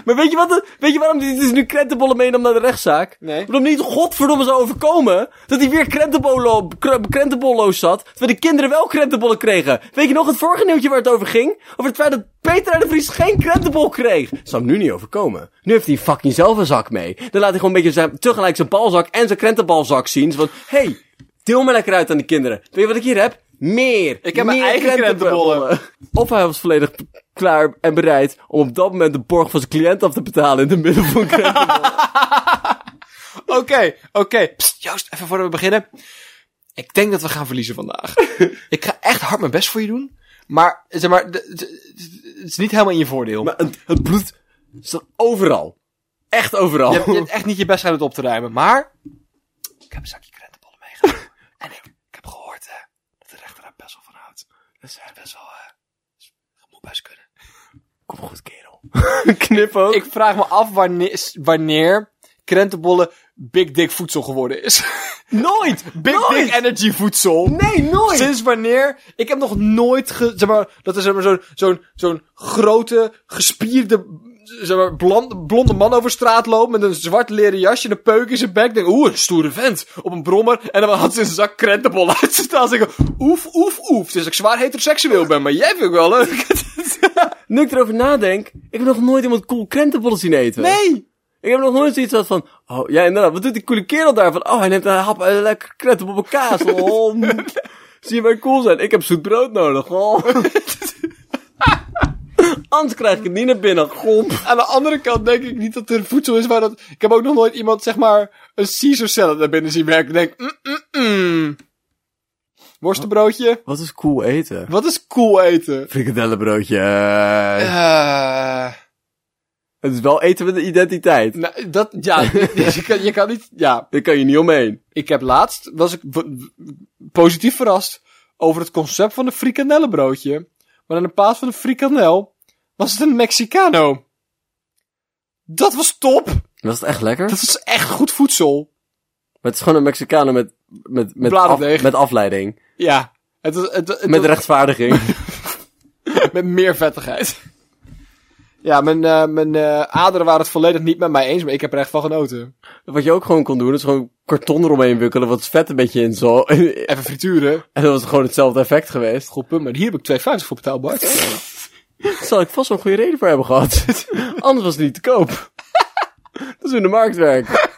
S1: Maar weet je, wat, de- weet je waarom hij dus nu krentenbollen meenam naar de rechtszaak?
S2: Nee.
S1: Omdat hem niet godverdomme zou overkomen dat hij weer krentenbollo, kr- krentenbolloos zat, terwijl de kinderen wel krentenbollen kregen. Weet je nog het vorige nieuwtje waar het over ging? Over het feit dat Peter uit de Vries geen krentenbol kreeg. Zou hem nu niet overkomen. Nu heeft hij fucking zelf een zak mee. Dan laat hij gewoon een beetje zijn, tegelijk zijn balzak en zijn krentenbalzak zien. Zo van, hey, deel me lekker uit aan de kinderen. Weet je wat ik hier heb? Meer.
S2: Ik heb mijn
S1: Meer
S2: eigen krentenbollen.
S1: Of hij was volledig p- klaar en bereid om op dat moment de borg van zijn cliënt af te betalen in de middel van krentenbollen.
S2: Oké, oké. Psst, Joost, even voordat we beginnen. Ik denk dat we gaan verliezen vandaag. ik ga echt hard mijn best voor je doen. Maar, zeg maar, de- de- de- het is niet helemaal in je voordeel.
S1: maar het, het bloed zat overal. Echt overal.
S2: Je, hebt, je hebt echt niet je best aan het op te ruimen. Maar, ik heb een zakje krentenbollen meegenomen. en ik, ik heb gehoord eh, dat de rechter daar best wel van houdt. Dat is best wel, eh, dat moet best kunnen.
S1: Kom goed, kerel. Knip ook.
S2: Ik vraag me af wanneer, wanneer krentenbollen big dick voedsel geworden is.
S1: nooit!
S2: Big
S1: nooit!
S2: dick energy voedsel.
S1: Nee, nooit!
S2: Sinds wanneer? Ik heb nog nooit, ge, zeg maar, dat er zeg maar, zo'n zo'n zo'n grote, gespierde, zeg maar, blond, blonde man over straat loopt met een zwart leren jasje en een peuk in zijn bek. Ik Denk, oeh, een stoere vent. Op een brommer. En dan had ze een zak krentenbol uit zijn taal. Ik Denk, oef, oef, oef. Het is dat ik zwaar heteroseksueel ben, maar jij vind ik wel leuk.
S1: Nu ik erover nadenk, ik heb nog nooit iemand cool krentenbollen zien eten.
S2: nee!
S1: Ik heb nog nooit zoiets gehad van, oh ja inderdaad, wat doet die coole kerel daar? Van, oh hij neemt een hap en lekker krentenbol op kaas. Oh, mm. Zie je mij cool zijn? Ik heb zoet brood nodig. Oh. Anders krijg ik het niet naar binnen. Goh.
S2: Aan de andere kant denk ik niet dat er voedsel is waar dat... Ik heb ook nog nooit iemand, zeg maar, een Caesar salad naar binnen zien werken. Ik Denk, mm, mm, mm. Worstenbroodje.
S1: Wat is cool eten?
S2: Wat is cool eten?
S1: Frikadellenbroodje.
S2: Eh,
S1: Het is wel eten met een identiteit.
S2: nou, dat, ja, je kan, je kan niet, ja.
S1: Daar kan je niet omheen.
S2: Ik heb laatst, was ik w- w- positief verrast over het concept van een frikandellenbroodje. Maar in de plaats van een frikandel was het een Mexicano. Dat was top!
S1: Was het echt lekker?
S2: Dat was echt goed voedsel.
S1: Maar het is gewoon een Mexicano met, met, met,
S2: Bladerdeeg.
S1: af- met afleiding.
S2: Ja, het, was- het, het,
S1: Met rechtvaardiging.
S2: met meer vettigheid. Ja, mijn, eh, mijn eh, aderen waren het volledig niet met mij eens, maar ik heb er echt van genoten.
S1: Wat je ook gewoon kon doen, is gewoon karton eromheen wikkelen, wat vet een beetje in zo.
S2: Even frituren.
S1: En dat was gewoon hetzelfde effect geweest.
S2: Goed punt, maar hier heb ik 2,50 voor betaald, Bart.
S1: Daar zal ik vast wel een goede reden voor hebben gehad. Anders was het niet te koop. dat is in de marktwerk.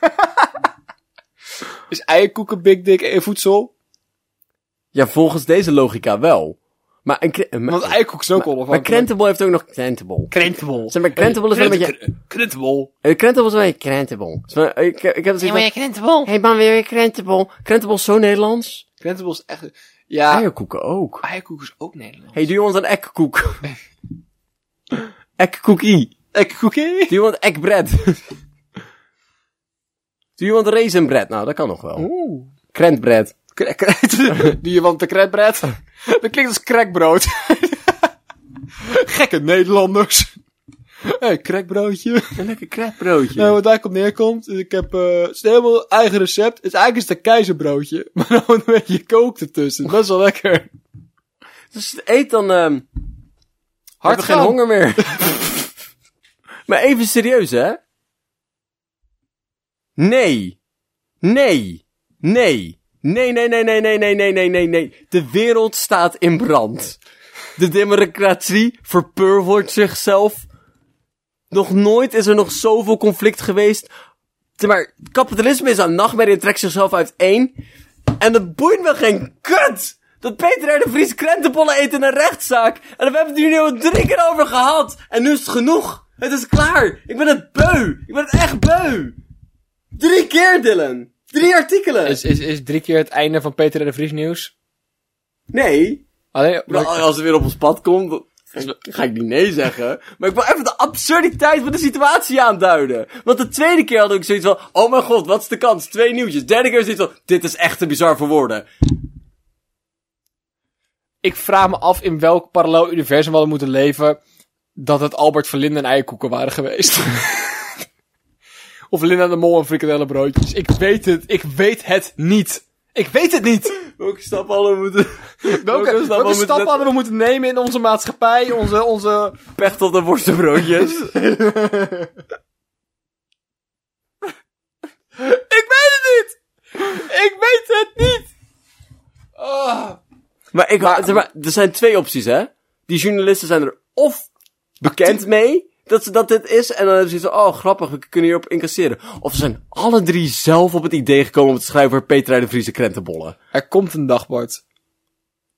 S2: Is eierkoeken big dick en voedsel?
S1: Ja, volgens deze logica wel. Maar een kre- maar-
S2: Want eikhoek is ook
S1: maar
S2: onafhankelijk.
S1: Crentable heeft ook nog Crentable.
S2: Krentebol.
S1: Zeg maar, Krentebol is wel een beetje-
S2: Krentebol.
S1: Eh, Crentable is wel een Crentable. Zeg maar, eh, ik, ik heb het zoiets van...
S2: Krentebol.
S1: Hey man, weer een Crentable. Crentable is zo Nederlands.
S2: Krentebol is echt... Ja,
S1: Eierkoeken ook.
S2: eikhoek is ook Nederlands.
S1: Hey, doe je ons een ekkoek? Ekkoekie.
S2: Eikhoekie.
S1: Doe je ons ekbread? doe je ons raisinbread? Nou, dat kan nog wel.
S2: Oeh.
S1: Krentbread.
S2: Kra- kra- Doe je want de krekbread? Dat klinkt als crackbrood. Gekke Nederlanders. Hé, hey, crackbroodje.
S1: Een lekker kretbroodje.
S2: Nou, wat daar komt neerkomt, is ik heb eh, het is een helemaal eigen recept. Het is eigenlijk is het een keizerbroodje, maar dan een beetje kook ertussen. Best wel lekker.
S1: Dus eet dan... ehm
S2: Hard
S1: heb ik geen
S2: gaan.
S1: honger meer. maar even serieus, hè? Nee. Nee. Nee. Nee, nee, nee, nee, nee, nee, nee, nee, nee, nee. De wereld staat in brand. De democratie verpurvert zichzelf. Nog nooit is er nog zoveel conflict geweest. Zeg Maar kapitalisme is een nachtmerrie en trekt zichzelf uiteen. En dat boeit me geen kut! Dat Peter R. de Vries krentenbollen eet in een rechtszaak. En we hebben het hier nu al drie keer over gehad. En nu is het genoeg. Het is klaar. Ik ben het beu. Ik ben het echt beu. Drie keer, Dylan. Drie artikelen.
S2: is, is drie keer het einde van Peter en de Vries nieuws?
S1: Nee.
S2: Allee,
S1: Nou, als het weer op ons pad komt, dan ga ik niet nee zeggen. Maar ik wil even de absurditeit van de situatie aanduiden. Want de tweede keer had ik zoiets van, oh mijn god, wat is de kans? Twee nieuwtjes. Derde keer zoiets van, dit is echt te bizar voor woorden.
S2: ik vraag me af in welk parallel universum we hadden moeten leven dat het Albert van Linden en eierkoeken waren geweest. of Linda de Mol en frikandellenbroodjes. Ik weet het, ik weet het niet. Ik weet het niet.
S1: Welke stappen hadden we moeten... Welke,
S2: Welke, welke,
S1: hadden we moeten
S2: stappen hadden we moeten nemen in onze maatschappij, onze, onze...
S1: zetten? Pech tot de worstenbroodjes.
S2: Ik weet het niet! Ik weet het niet! Ah.
S1: Maar, ik, zeg maar er zijn twee opties, hè? Die journalisten zijn er of bekend mee dat, ze, dat dit is, en dan hebben ze zoiets van, oh grappig, we kunnen hierop incasseren. Of ze zijn alle drie zelf op het idee gekomen om te schrijven voor Peter R. de Vriese krentenbollen.
S2: Er komt een dag, Bart,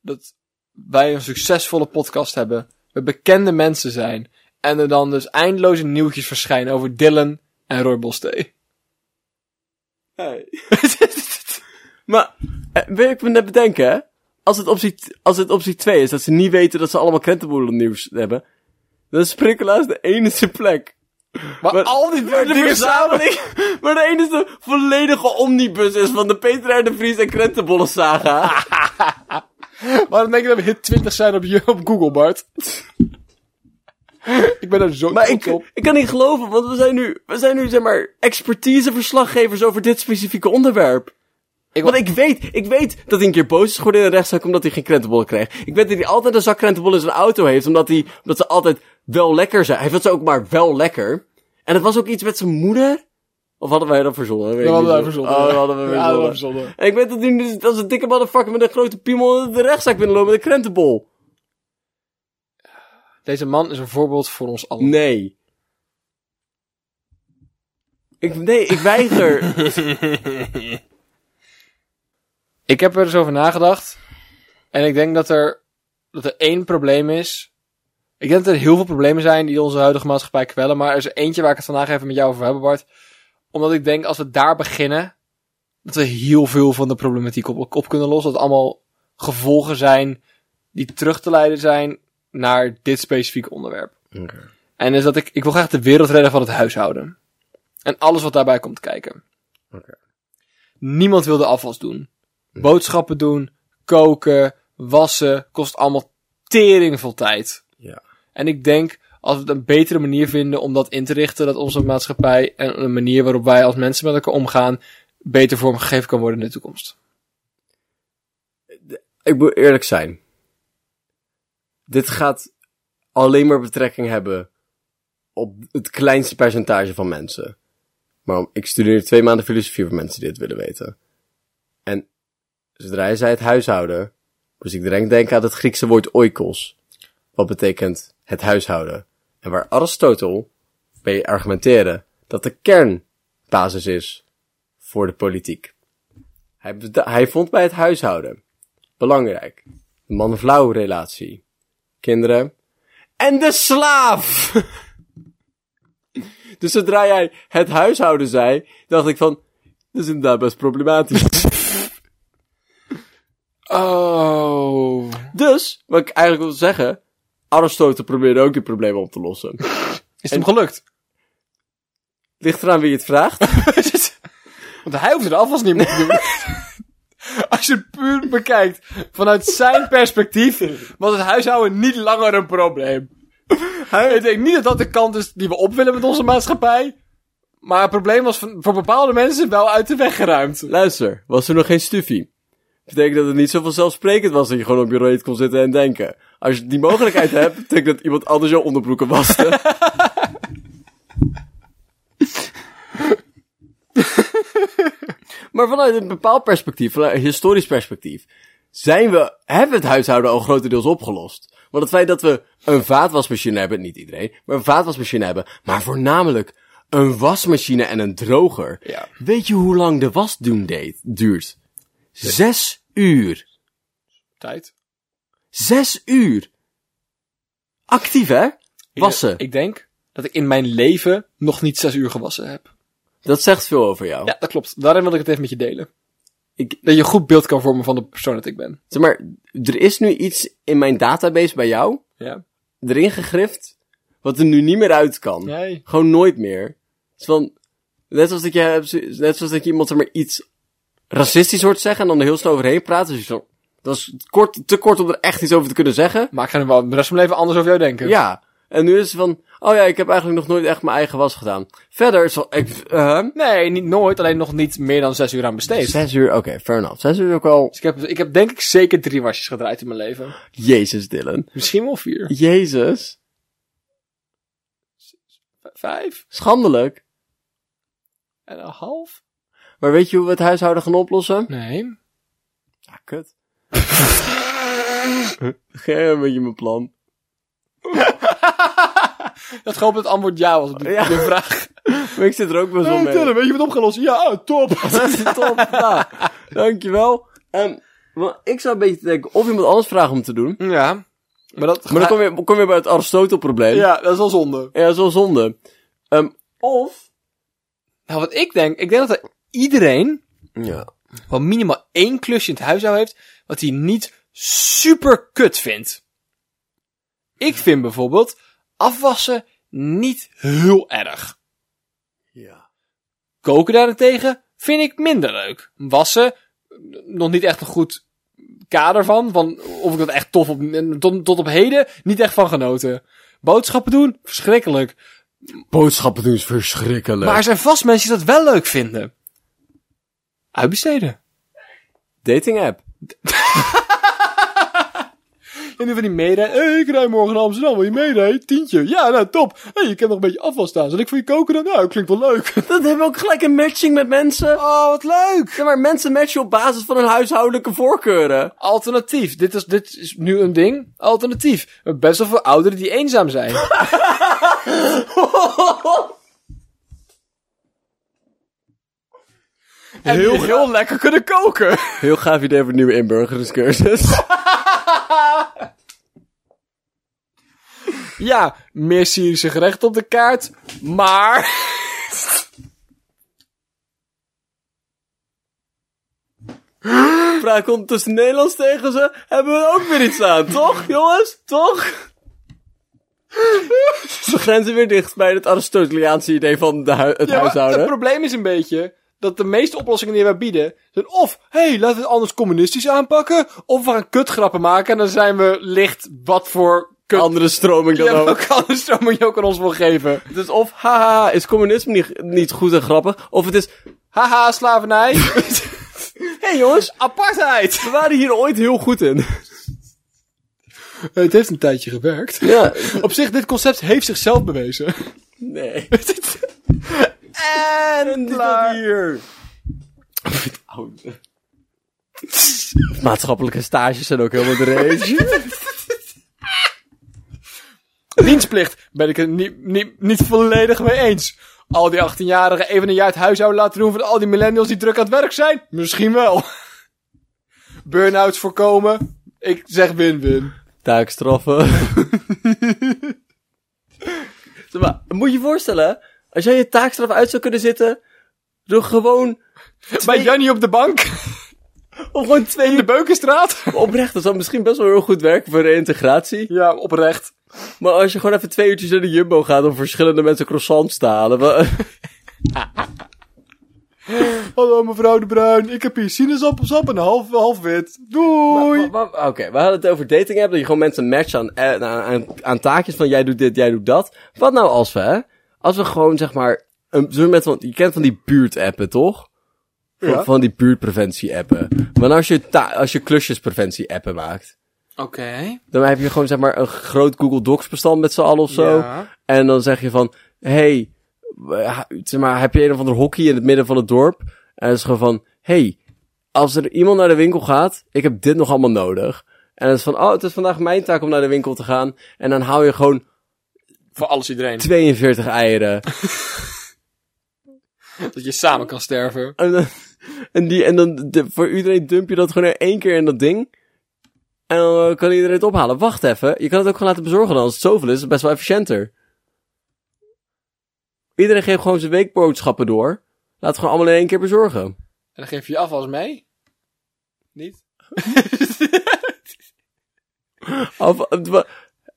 S2: dat wij een succesvolle podcast hebben. We bekende mensen zijn. En er dan dus eindeloze nieuwtjes verschijnen over Dylan en Roy Bostee.
S1: Maar, eh, wil ik me net bedenken, hè? Als het, optie, t- als het optie 2 is, dat ze niet weten dat ze allemaal krentenbollen nieuws hebben, dan is Sprinkelaars de enige plek
S2: Maar,
S1: Maar-
S2: al die
S1: Maar de
S2: dingen samen...
S1: verzameling, maar de enige volledige omnibus is van de Peter R. de Vries en Krentenbollen saga.
S2: Waarom denk je dat we hit 20 zijn op, je- op Google, Bart? ik ben er zo
S1: Maar
S2: trots
S1: ik,
S2: op.
S1: ik kan niet geloven, want we zijn nu, we zijn nu zeg maar expertiseverslaggevers over dit specifieke onderwerp.
S2: Ik-
S1: want ik weet, ik weet dat hij een keer boos is geworden in een rechtszaak omdat hij geen krentenbollen kreeg. Ik weet dat hij altijd een zak krentenbollen in zijn auto heeft, omdat, hij, omdat ze altijd wel lekker zijn. Hij vindt ze ook maar wel lekker. En het was ook iets met zijn moeder? Of hadden wij dat verzonnen? Weet ik
S2: Dat
S1: niet
S2: hadden wij
S1: zo.
S2: verzonnen.
S1: Oh, dat hadden we
S2: Ja, dat hadden we
S1: verzonnen.
S2: verzonnen.
S1: En ik weet dat nu dus als een dikke motherfucker met een grote piemel de rechtszaak binnenloopt met een krentenbol.
S2: Deze man is een voorbeeld voor ons allen.
S1: Nee. Ik, nee, ik weiger.
S2: Ik heb er dus over nagedacht. En ik denk dat er, dat er één probleem is. Ik denk dat er heel veel problemen zijn die onze huidige maatschappij kwellen. Maar er is er eentje waar ik het vandaag even met jou over heb, Bart. Omdat ik denk als we daar beginnen, dat we heel veel van de problematiek op, op kunnen lossen. Dat het allemaal gevolgen zijn die terug te leiden zijn naar dit specifieke onderwerp. En is dat ik, ik wil graag de wereld redden van het huishouden. En alles wat daarbij komt kijken.
S1: Oké.
S2: Niemand wil de afwas doen. Boodschappen doen, koken, wassen, kost allemaal tering veel tijd.
S1: Ja.
S2: En ik denk, als we het een betere manier vinden om dat in te richten, dat onze maatschappij en een manier waarop wij als mensen met elkaar omgaan, beter vormgegeven kan worden in de toekomst.
S1: Ik moet eerlijk zijn. Dit gaat alleen maar betrekking hebben op het kleinste percentage van mensen. Maar ik studeer twee maanden filosofie voor mensen die dit willen weten. En zodra hij zei het huishouden, moest ik direct denken aan het Griekse woord oikos. Wat betekent het huishouden. En waar Aristotel mee argumenteren dat de kern basis is voor de politiek. Hij, beda- hij vond bij het huishouden belangrijk man-vrouw relatie. Kinderen. En de slaaf! dus zodra jij het huishouden zei, dacht ik van, dat is inderdaad best problematisch.
S2: Oh.
S1: dus, wat ik eigenlijk wil zeggen, Aristotle probeerde ook die problemen op te lossen.
S2: Is het hem gelukt?
S1: Ligt eraan wie je het vraagt.
S2: Want hij hoefde de afwas niet meer te doen. Als je het puur bekijkt, vanuit zijn perspectief, was het huishouden niet langer een probleem. Ik denk niet dat dat de kant is die we op willen met onze maatschappij. Maar het probleem was van- voor bepaalde mensen wel uit de weg geruimd.
S1: Luister, was er nog geen stufie? Betekent dat het niet zo vanzelfsprekend was dat je gewoon op je reet kon zitten en denken. Als je die mogelijkheid hebt, betekent dat iemand anders jouw onderbroeken waste. maar vanuit een bepaald perspectief, vanuit een historisch perspectief, zijn we, hebben we het huishouden al grotendeels opgelost. Want het feit dat we een vaatwasmachine hebben, niet iedereen, maar een vaatwasmachine hebben, maar voornamelijk een wasmachine en een droger.
S2: Ja.
S1: Weet je hoe lang de was doen deed, duurt? Zes uur.
S2: Tijd.
S1: Zes uur. Actief, hè? Wassen.
S2: Ik denk dat ik in mijn leven nog niet zes uur gewassen heb.
S1: Dat zegt veel over jou.
S2: Ja, dat klopt. Daarin wil ik het even met je delen.
S1: Ik-
S2: Dat je een goed beeld kan vormen van de persoon dat ik ben.
S1: Zeg maar, er is nu iets in mijn database bij jou,
S2: Ja.
S1: erin gegrift, wat er nu niet meer uit kan.
S2: Nee.
S1: Gewoon nooit meer. Het is van, net zoals dat je, hebt- net zoals dat je iemand er maar iets racistisch hoort zeggen en dan er heel snel overheen praat. Dus je zo, dat is kort, te kort om er echt iets over te kunnen zeggen.
S2: Maar ik ga nu wel de rest van mijn leven anders over jou denken.
S1: Ja. En nu is het van, oh ja, ik heb eigenlijk nog nooit echt mijn eigen was gedaan. Verder is van, ik, eh,
S2: Nee, niet nooit. Alleen nog niet meer dan zes uur aan besteed.
S1: zes uur, oké, fair enough. Zes uur is ook al,
S2: Dus ik heb, ik heb denk ik zeker drie wasjes gedraaid in mijn leven.
S1: jezus Dylan.
S2: Misschien wel vier.
S1: Jezus.
S2: Vijf
S1: Schandelijk.
S2: en een half?
S1: Maar weet je hoe we het huishouden gaan oplossen?
S2: Nee.
S1: Ah, kut. Geen beetje mijn plan.
S2: Dat gewoon het antwoord ja was op die,
S1: Ja.
S2: die vraag.
S1: Maar ik zit er ook best wel mee.
S2: weet je wat opgelost? Ja, oh, top.
S1: Dat is top. Nou, dankjewel. Ehm, maar ik zou een beetje denken of iemand anders vragen om te doen.
S2: Ja. Maar dat...
S1: Maar dan kom je, kom je bij het Aristotle-probleem. Ja.
S2: Ja, dat is wel zonde.
S1: dat is wel zonde. Ehm, of...
S2: Nou, wat ik denk... Ik denk dat er iedereen
S1: Ja.
S2: wel minimaal één klusje in het huishouden heeft... wat hij niet super kut vindt. Ik vind bijvoorbeeld afwassen niet heel erg.
S1: Ja.
S2: Koken daarentegen vind ik minder leuk. Wassen, n- nog niet echt een goed kader van. van of ik dat echt tof op, en tot, tot op heden niet echt van genoten. Boodschappen doen, verschrikkelijk.
S1: Boodschappen doen is verschrikkelijk.
S2: Maar er zijn vast mensen die dat wel leuk vinden. Uitbesteden.
S1: Dating app.
S2: En nu van die mede. Hey, ik rij morgen naar Amsterdam. Wil je meerijden? Tientje. Ja, nou top. Hé, hey, ik heb nog een beetje afwas staan. Zal ik voor je koken dan? Nou, klinkt wel leuk.
S1: Dat hebben we ook gelijk een matching met mensen.
S2: Oh, wat leuk.
S1: Ja, maar mensen matchen op basis van hun huishoudelijke voorkeuren.
S2: Alternatief. Dit is, dit is nu een ding. Alternatief. Best wel veel ouderen die eenzaam zijn. En heel, heel lekker kunnen koken.
S1: Heel gaaf idee voor een nieuwe inburgeringscursus.
S2: Ja, meer Syrische gerechten op de kaart. Maar.
S1: Praat komt tussen Nederlands tegen ze. Hebben we er ook weer iets aan, toch, jongens? Toch? Ze grenzen weer dicht bij het Aristoteliaanse idee van de hui- het
S2: Ja, maar het
S1: huishouden.
S2: probleem is een beetje dat de meeste oplossingen die wij bieden. zijn of hé, hey, laten we het anders communistisch aanpakken. of we gaan kutgrappen maken en dan zijn we licht wat voor kut.
S1: Andere stroming dan
S2: Ja,
S1: ook.
S2: welke andere stroom moet je ook aan ons wil geven?
S1: Dus of, haha, is communisme niet, niet goed en grappig. Of het is,
S2: Haha, slavernij.
S1: hé hey jongens,
S2: Apartheid!
S1: we waren hier ooit heel goed in.
S2: Het heeft een tijdje gewerkt.
S1: Ja.
S2: Op zich, dit concept heeft zichzelf bewezen.
S1: Nee.
S2: en
S1: hier. Maatschappelijke stages zijn ook helemaal de rage.
S2: Dienstplicht ben ik het niet, niet, niet volledig mee eens. Al die 18-jarigen even een jaar het huishouden laten doen van al die millennials die druk aan het werk zijn? Misschien wel. Burn-outs voorkomen? Ik zeg win-win.
S1: Taakstraffen. Zeg maar, moet je je voorstellen, als jij je taakstraf uit zou kunnen zitten, door gewoon,
S2: Bij Jannie op de bank,
S1: of gewoon twee
S2: in de Beukenstraat.
S1: Oprecht, dat zou misschien best wel heel goed werken voor reïntegratie.
S2: Ja, oprecht.
S1: Maar als je gewoon even twee uurtjes naar de Jumbo gaat om verschillende mensen croissants te halen. wa-
S2: Hallo mevrouw de Bruin, ik heb hier sinaasappelsap en half, half wit. Doei!
S1: Wa- wa- Oké, we hadden het over dating app, dat je gewoon mensen matcht aan, eh, aan, aan, aan taakjes van jij doet dit, jij doet dat. Wat nou als we, hè? Als we gewoon, zeg maar, een, zullen we met van, je kent van die buurtappen, toch? Van,
S2: Ja.
S1: van die buurtpreventie-appen. Maar als je, ta- als je klusjespreventie-appen maakt,
S2: Oké.
S1: dan heb je gewoon, zeg maar, een groot Google Docs bestand met z'n allen of zo. En dan zeg je van, hey, eh, zeg maar, heb je een of ander hockey in het midden van het dorp? En het is gewoon van, hey, als er iemand naar de winkel gaat, ik heb dit nog allemaal nodig. En het is van, oh, het is vandaag mijn taak om naar de winkel te gaan. En dan hou je gewoon
S2: Voor alles iedereen.
S1: 42 eieren.
S2: Dat je samen kan sterven.
S1: En, dan- en, die, en dan de- voor iedereen dump je dat gewoon in één keer in dat ding. En dan eh, kan iedereen het ophalen. Wacht even, je kan het ook gewoon laten bezorgen dan. Als het zoveel is, is het best wel efficiënter. Iedereen geeft gewoon zijn weekboodschappen door. Laat het gewoon allemaal in één keer bezorgen.
S2: En dan geef je je afwas mee. Niet?
S1: Of, eh, wa-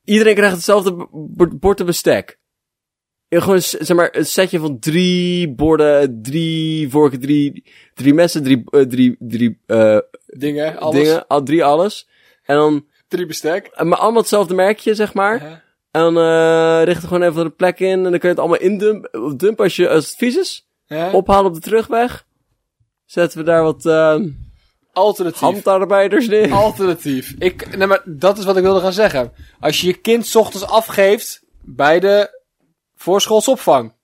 S1: iedereen krijgt hetzelfde b- b- bord en bestek. Ja, Gewoon, s- zeg maar, een setje van drie borden, drie vorken, drie, drie messen, drie, eh, drie, drie eh,
S2: Dingen, alles.
S1: dingen, al drie alles. En dan,
S2: Drie bestek.
S1: eh, maar allemaal hetzelfde merkje, zeg maar.
S2: Hè?
S1: En dan eh, richt er gewoon even de plek in en dan kun je het allemaal indumpen of dumpen als, je, als het vies is.
S2: Hè?
S1: Ophalen op de terugweg. Zetten we daar wat eh,
S2: Alternatief.
S1: handarbeiders neer.
S2: Alternatief. Ik, nee, maar dat is wat ik wilde gaan zeggen. Als je je kind 's ochtends afgeeft bij de voorschoolsopvang,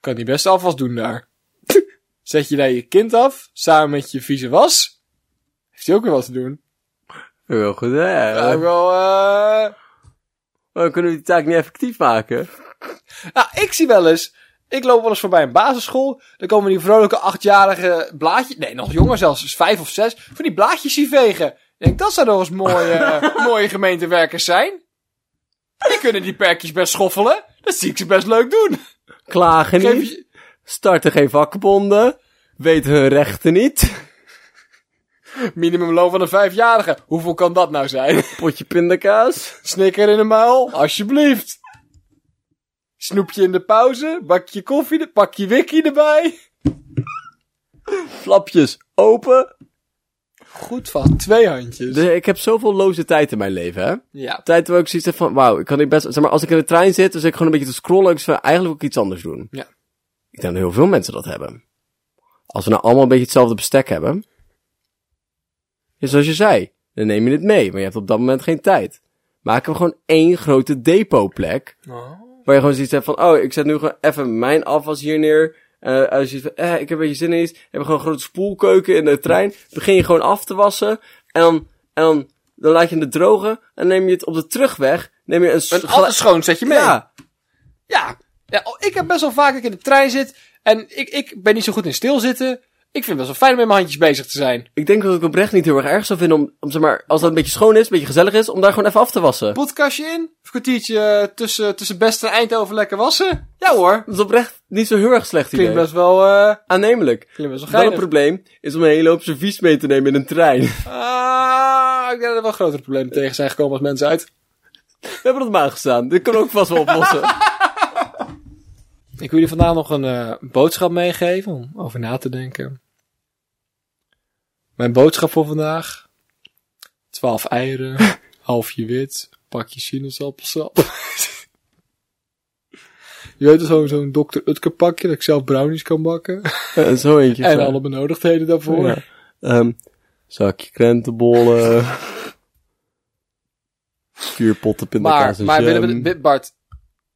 S2: kan die best afwas doen daar. Zet je daar je kind af, samen met je vieze was, heeft hij ook weer wat te doen.
S1: Heel goed, hè?
S2: Ja, wel, eh,
S1: Dan kunnen we die taak niet effectief maken.
S2: Nou, ik zie wel eens. Ik loop wel eens voorbij een basisschool. Dan komen die vrolijke achtjarige blaadjes. Nee, nog jonger zelfs. dus vijf of zes. Van die blaadjes zien vegen. Ik denk, dat zou nog eens mooie, eh, mooie gemeentewerkers zijn. Die kunnen die perkjes best schoffelen. Dat zie ik ze best leuk doen.
S1: Klagen
S2: Geef
S1: niet.
S2: je-
S1: Starten geen vakbonden. Weten hun rechten niet.
S2: Minimumloon van een vijfjarige. Hoeveel kan dat nou zijn?
S1: Potje pindakaas.
S2: Snicker in de muil, alsjeblieft. Snoepje in de pauze. Bakje koffie. Pakje wikkie erbij.
S1: Flapjes open.
S2: Goed van twee handjes.
S1: Dus ik heb zoveel loze tijd in mijn leven, hè?
S2: Ja.
S1: Tijd waar ik zoiets heb van, wauw, ik kan hier best... Zeg maar, als ik in de trein zit, dus ik gewoon een beetje te scrollen. Ik zeg van, eigenlijk wil ik iets anders doen.
S2: Ja.
S1: Ik denk dat heel veel mensen dat hebben. Als we nou allemaal een beetje hetzelfde bestek hebben. Ja, zoals je zei, dan neem je het mee, maar je hebt op dat moment geen tijd. Maken we gewoon één grote depotplek. Waar je gewoon zoiets hebt van, oh, ik zet nu gewoon even mijn afwas hier neer. Eh, als je zegt van, eh, ik heb een beetje zin in iets. Heb gewoon een grote spoelkeuken in de trein. Begin je gewoon af te wassen. En dan, en dan, dan laat je het drogen. En neem je het op de terugweg. Neem je een... s-
S2: Een altijd schoon zet je mee.
S1: ja,
S2: Ja, ja oh, ik heb best wel vaak dat ik in de trein zit en ik, ik ben niet zo goed in stilzitten. Ik vind het best wel fijn om met mijn handjes bezig te zijn.
S1: ik denk dat ik oprecht niet heel erg erg zou vinden om, om zeg maar, als dat een beetje schoon is, een beetje gezellig is, om daar gewoon even af te wassen.
S2: Podcastje in, een kwartiertje eh, tussen, tussen best en Eindhoven lekker wassen. Ja hoor,
S1: Dat is oprecht niet zo heel erg slecht idee.
S2: klinkt best wel, eh
S1: Aannemelijk.
S2: klinkt best wel
S1: Wel een
S2: geinig.
S1: probleem is om een hele hoop servies mee te nemen in een trein. We
S2: Ah, ik denk dat er wel grotere problemen tegen zijn gekomen als mensen uit.
S1: hebben dat maar aangestaan. Dit kunnen we ook vast wel oplossen.
S2: Ik wil jullie vandaag nog een eh, boodschap meegeven om over na te denken. Mijn boodschap voor vandaag. 12 eieren, halfje wit, pakje sinaasappelsap. Je weet wel, zo'n zo'n Dr. Utker pakje dat ik zelf brownies kan bakken.
S1: Eh, zo eentje.
S2: en
S1: zo.
S2: alle benodigdheden daarvoor.
S1: Ja. Ehm, zakje krentenbollen. Vuurpotten,
S2: Maar,
S1: pindakaas en
S2: maar
S1: jam. Mm,
S2: willen we dit, Bart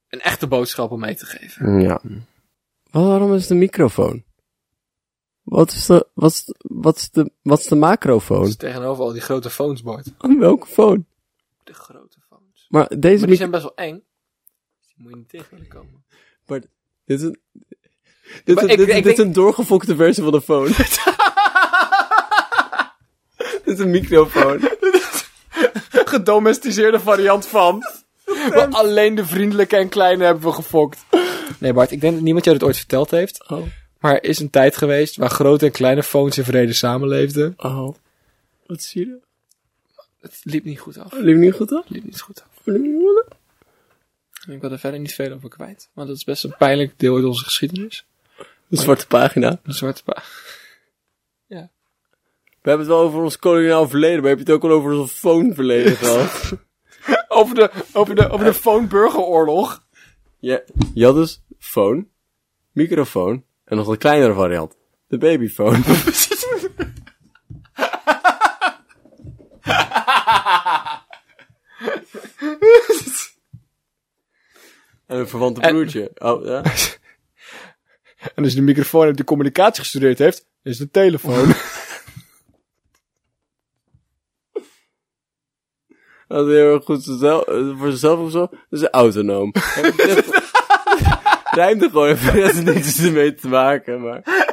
S2: een echte boodschap om mee te geven?
S1: Ja. Wa- Waarom is de microfoon? Wat is de, wat is, de- wat is de, wat is de
S2: Dat
S1: macrofoon?
S2: is Dus tegenover al die grote phones, Bart.
S1: Aan welke foon?
S2: De grote phones.
S1: Maar deze
S2: Maar die
S1: microfoon...
S2: zijn best wel eng. Dus Die moet je niet tegen willen komen.
S1: Dit is een... Dit, is-
S2: Maar
S1: dit,
S2: ik- ik
S1: dit
S2: denk-
S1: is een doorgefokte versie van de phone. dit is een microfoon.
S2: Dit is- gedomesticeerde variant van. Maar alleen de vriendelijke en kleine hebben we gefokt. Nee, Bart, ik denk dat niemand jou dit ooit verteld heeft.
S1: Oh.
S2: Maar er is een tijd geweest waar grote en kleine phones in vrede samenleefden.
S1: Oh. Wat zie je?
S2: Het liep niet goed af. Het
S1: Liep niet goed af?
S2: liep niet goed af.
S1: Liep niet goed af?
S2: Ik wil er verder niet veel over kwijt. Maar dat is best een pijnlijk deel uit onze geschiedenis.
S1: Een zwarte pagina.
S2: Een zwarte pa.
S1: We hebben het wel over ons koloniaal verleden, maar heb je het ook al over ons phone-verleden gehad?
S2: Over de, over de, over de phone-burgeroorlog.
S1: Ja. Je had dus phone, microfoon en nog een kleinere variant. De babyfoon. en een verwante
S2: En-
S1: broertje. Oh, ja.
S2: En als je de microfoon hebt die communicatie gestudeerd heeft, is de telefoon.
S1: Dat is heel erg goed zichzelf- eh, voor zichzelf of zo. Dat is autonoom. Rijmde gewoon, dat heeft niks ermee te maken, maar...